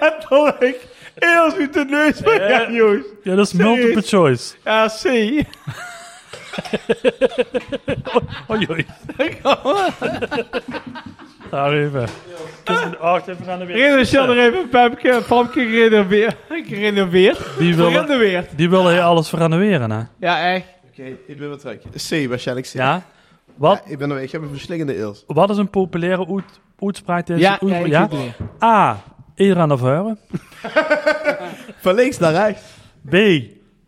Dat hoor ik. Eerst uit de neus van jou, jongens.
Ja, dat is multiple choice.
Ja, C.
Oei, oei. Daar even. Tussen de acht Dus even gaan de weer.
Renoveren er even een pumpje, pumpje gerenoveerd. Gerenoveerd.
Die willen,
Gerenoveerd.
die willen hier alles renoveren, hè?
Ja, echt.
Oké, ik ben wat terug. C, waarschijnlijk C.
Ja? Wat?
ik, ben, er- ik heb een verslingende eels.
Wat is een populaire oet- uitspraak tijdens
Ja,
het oet-
ja, ik doe het
A. Iedereen naar voren.
Van links naar rechts.
B.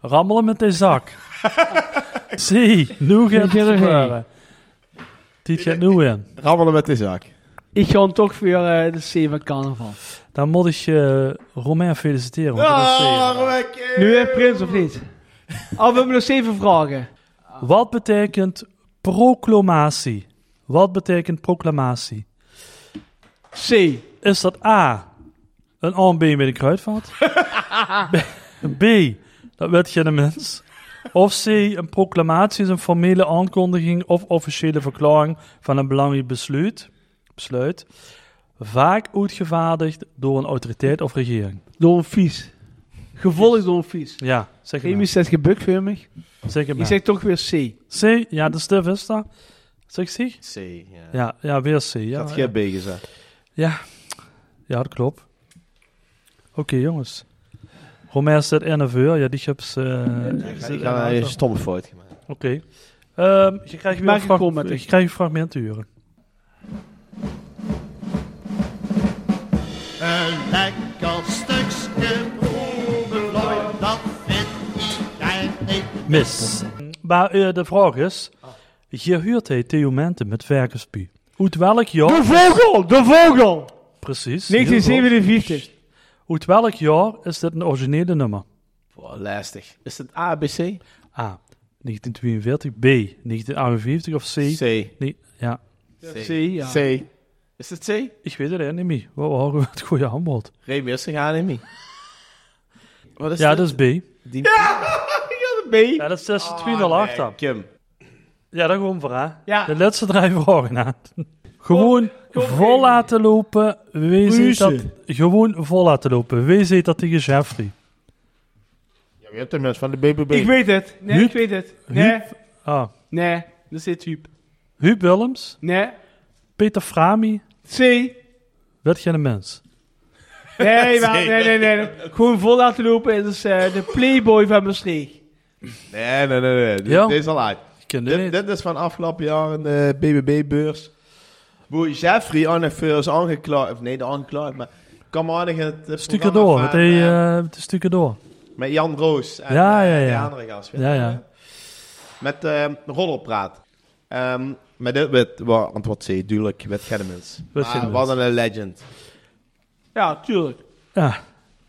Rammelen met de zak. C. Nu gaat het gebeuren. Dit gaat nu in.
Rammelen met de zak.
Ik ga toch voor eh, de C van carnaval.
Dan moet ik eh Romain feliciteren. want dat is C.
Oh,
Nu hè, Prins of niet? Oh, we hebben nog zeven vragen.
Wat betekent proclamatie? Wat betekent proclamatie?
C.
Is dat A, een AMB met een kruidvat? B, B, dat werd geen mens. Of C, een proclamatie is een formele aankondiging of officiële verklaring van een belangrijk besluit. besluit vaak uitgevaardigd door een autoriteit of regering.
Door een vies. Gevolgd door een vies.
Ja, zeg het
Remy
maar.
zegt gebukt voor mij.
Zeg het
Ik
maar.
zeg toch weer C.
C, ja, de stuf is dat. Zeg C?
C, ja.
Ja, ja weer C. Ja,
Dat had
ja.
geen B gezegd.
Ja, ja dat klopt. Oké, jongens. Romain staat nerveus. Ja, die chips... eh
Ik ga een stomme fout gemaakt.
Oké. Ehm, je krijgt weer
Maak
een,
een
frag-
comment.
je krijgt een fragment te huren.
Een lekker stukje broederlooi, dat vind iedereen.
Mis. Maar eh, de vraag is... Gehuurd hij Theo Menten met Verkenspie? Uit welk jaar...
De vogel! De vogel!
Precies. heel goed.
1947.
Uit welk jaar is dit een originele nummer?
Boah, lastig. Is het A, B, C?
A. 1942. B. 1958. Of C.
C.
Nee, ja.
C.
C, ja.
C. Is het C?
Ik weet het eigenlijk niet meer. We houden het goede aanbod.
Remy is er aan, Emmy. Wat is
Ja,
dit?
dat is B.
Die... Ah,
B.
Ja, dat is 26 oh, achter. Ja, dat gewoon voor hè.
Ja.
De laatste drie vragen hè. Gewoon vol laten lopen. Wie ziet dat?
Ruzie.
Gewoon vol laten lopen. Wie ziet dat tegen Jeffrey?
Ja, je hebt hem net van de BBB.
Ik weet het. Nee,
Huub?
ik weet het. Nee.
Ah.
Nee. Dat zit Huub.
Huub Willems.
Nee.
Peter Frami.
C. Nee,
Werd geen mens.
maar, nee, nee, nee, nee. Gewoon vol laten lopen. Het is eh, de Playboy van Maastricht.
Nee, nee, nee. nee. Dit,
Ja.
dit is al uit.
ken dit
Dit, dit is van afgelopen jaar in de BBB-beurs. Boe, Jeffrey Annefeur is aangeklaagd. Of nee, de aangeklaagd, maar... Kom aardig in het eh,
Stukken
programma
door.
van,
Met, die, eh, met de stukken door.
Met Jan Roos en
Ja,
eh,
ja, ja.
die andere gast. weet
Ja,
je,
ja.
hè? Met eh, rollenpraat. Ehm, maar dit werd, wa- want wat zei je, duidelijk, werd Gedemins.
Werd geen mens.
Ah, Wat een legend.
Ja, tuurlijk.
Ja.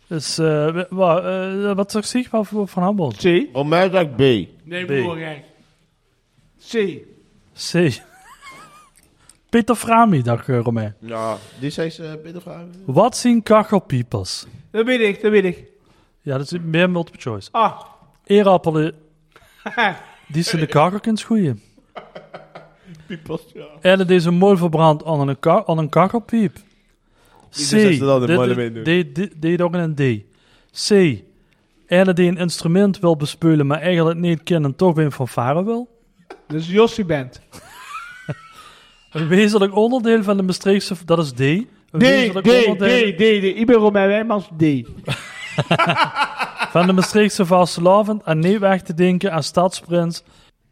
Dus, eh, we- wa- eh, wat zag ik van, van handbal?
C.
Om mij dat B.
Nee,
B.
broer, gek. C.
C. Peter Frami, dag eh, Romein.
Ja, die zei ze eh, Peter vragen.
Wat zien kachelpiepers?
Dat weet ik, dat weet ik.
Ja, dat is meer multiple choice.
Ah.
Eerappelen, die zijn de kachelkens schoeien.
Piepers, ja.
En het is een mooi verbrand aan een, ka- aan een kachelpiep.
Die
C.
doen ze dan de
dit-
moeilijk mee doen.
dit- dit- Dit ook in een D. C. Ellen die een instrument wil bespeulen, maar eigenlijk niet kennen, toch weer een fanfare wil.
Dus Jossie Band.
Een wezenlijk onderdeel van de Maastrichtse... Dat is D. Een
D, D, D, D, D. Ik ben Romein Wijmans, D.
Van de Maastrichtse vastelavond en niet weg te denken aan stadsprins.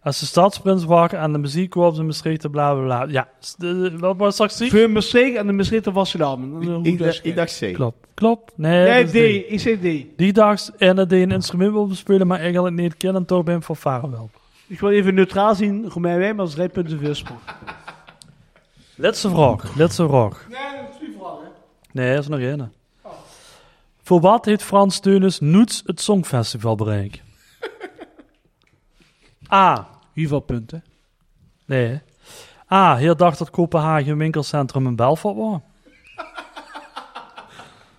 Als de stadsprins waren aan de muziekkorps in Maastricht, bla bla bla. Ja, s- de- de- wat was straks
Voor Maastricht en de Maastrichter was ze dan.
Ik dacht- ik
dacht C.
Klopt, klopt. Nee,
Nee,
dat
D.
is D.
Ik zeg D.
Die dags en dat die een instrument wil bespelen, maar eigenlijk niet kennen, toch ben van varen wel.
Ik wil even neutraal zien. Romein Wijmans, drie punten voorsprong.
Laatste vraag, laatste vraag.
Nee, dat is twee vragen.
Nee, er is nog één. Voor wat heeft Frans Teunis Noets het Songfestival bereikt? A.
Hoeveel punten?
Nee. hè? A. Heel dacht dat Kopenhagen een winkelcentrum in Belfort was.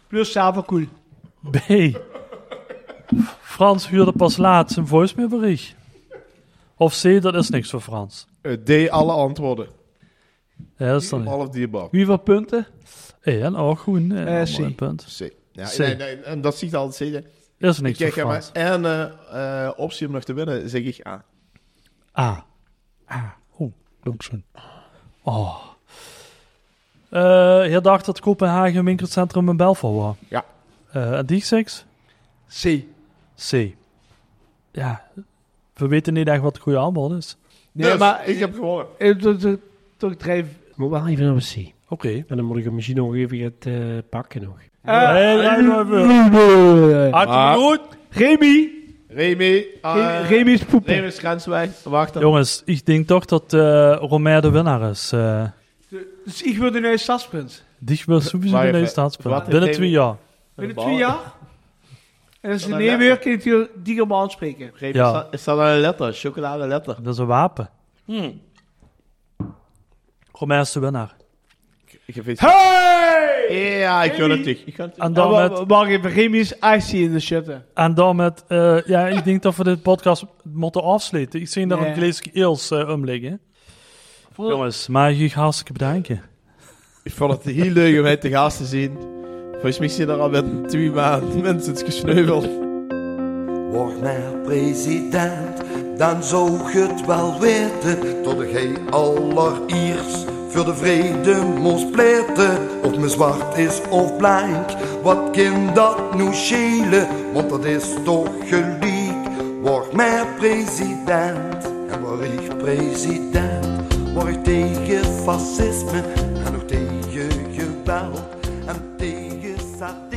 Plus Savacool.
B. Frans huurde pas laatst een voicemailbericht. Of C. Dat is niks voor Frans.
Eh, D, alle antwoorden.
Ja, dat is dan niet.
All of the above.
Hoeveel punten?
E en O, groen. eh,
Eh,
allemaal
C.
een punt.
C. Ja,
C.
nee, nee, en dat ziet altijd C.
Is niks
Ik kijk
voor
aan
Frans.
mijn en eh, eh, optie om nog te winnen, zeg ik A.
A. A. Oh, dankzij. Oh. Eh heel dacht dat Kopenhagen een winkelcentrum in Belfort was.
Ja.
Eh, en die seks?
C.
C. Ja, we weten niet echt wat het goede antwoord is.
Nee,
Dus,
maar
ik heb gewonnen.
Eh, dat- dat- Toch drie.
Ik moet wel even naar C. Oké.
Okay.
En dan moet ik hem misschien nog even het, eh, pakken nog.
Eh,
Nee, nee, nee, nee. Hartelijk goed.
Remy.
Remy. eh,
Remy is poepen.
Remy is grenswijs. Wacht dan.
Jongens, ik denk toch dat eh Romain de winnaar is. eh
Dus ik wil de nieuwe stadspunt.
die wil sowieso
Wacht
in deze
even, wat
staatspunt.
heeft
Binnen
hij-
twee jaar.
Binnen
bal.
twee jaar. En als de
Van
nee
een
weer kun je natuurlijk die gaan maar aanspreken.
Remy,
Ja.
is dat- is dat een letter? Chocolade letter.
Dat is een wapen.
Hmm.
Romain is de winnaar.
Hey! Ja, ik wil
Remy.
het terug. Ik ga het
En
Dan
dan met...
mag mag even Remy's IC in de shutten.
En dan met, eh, ja, ik denk dat we dit podcast moeten afsluiten. Ik zie daar
Nee.
een glaasje eels eh, om liggen.
Vol-
Jongens, maar ik hartstikke bedanken.
Ik vond het heel leuk om mij te gast te zien. Volgens mij zijn er al met twee maanden mensen gesneuveld.
Word maar president, dan zou je het wel weten. Tot gij allereerst voor de vrede moest pleiten. Of me zwart is of blank, wat kan dat nu schelen? Want dat is toch gelijk. Word maar president, en word ik president. Word ik tegen fascisme en ook tegen geweld en tegen satire.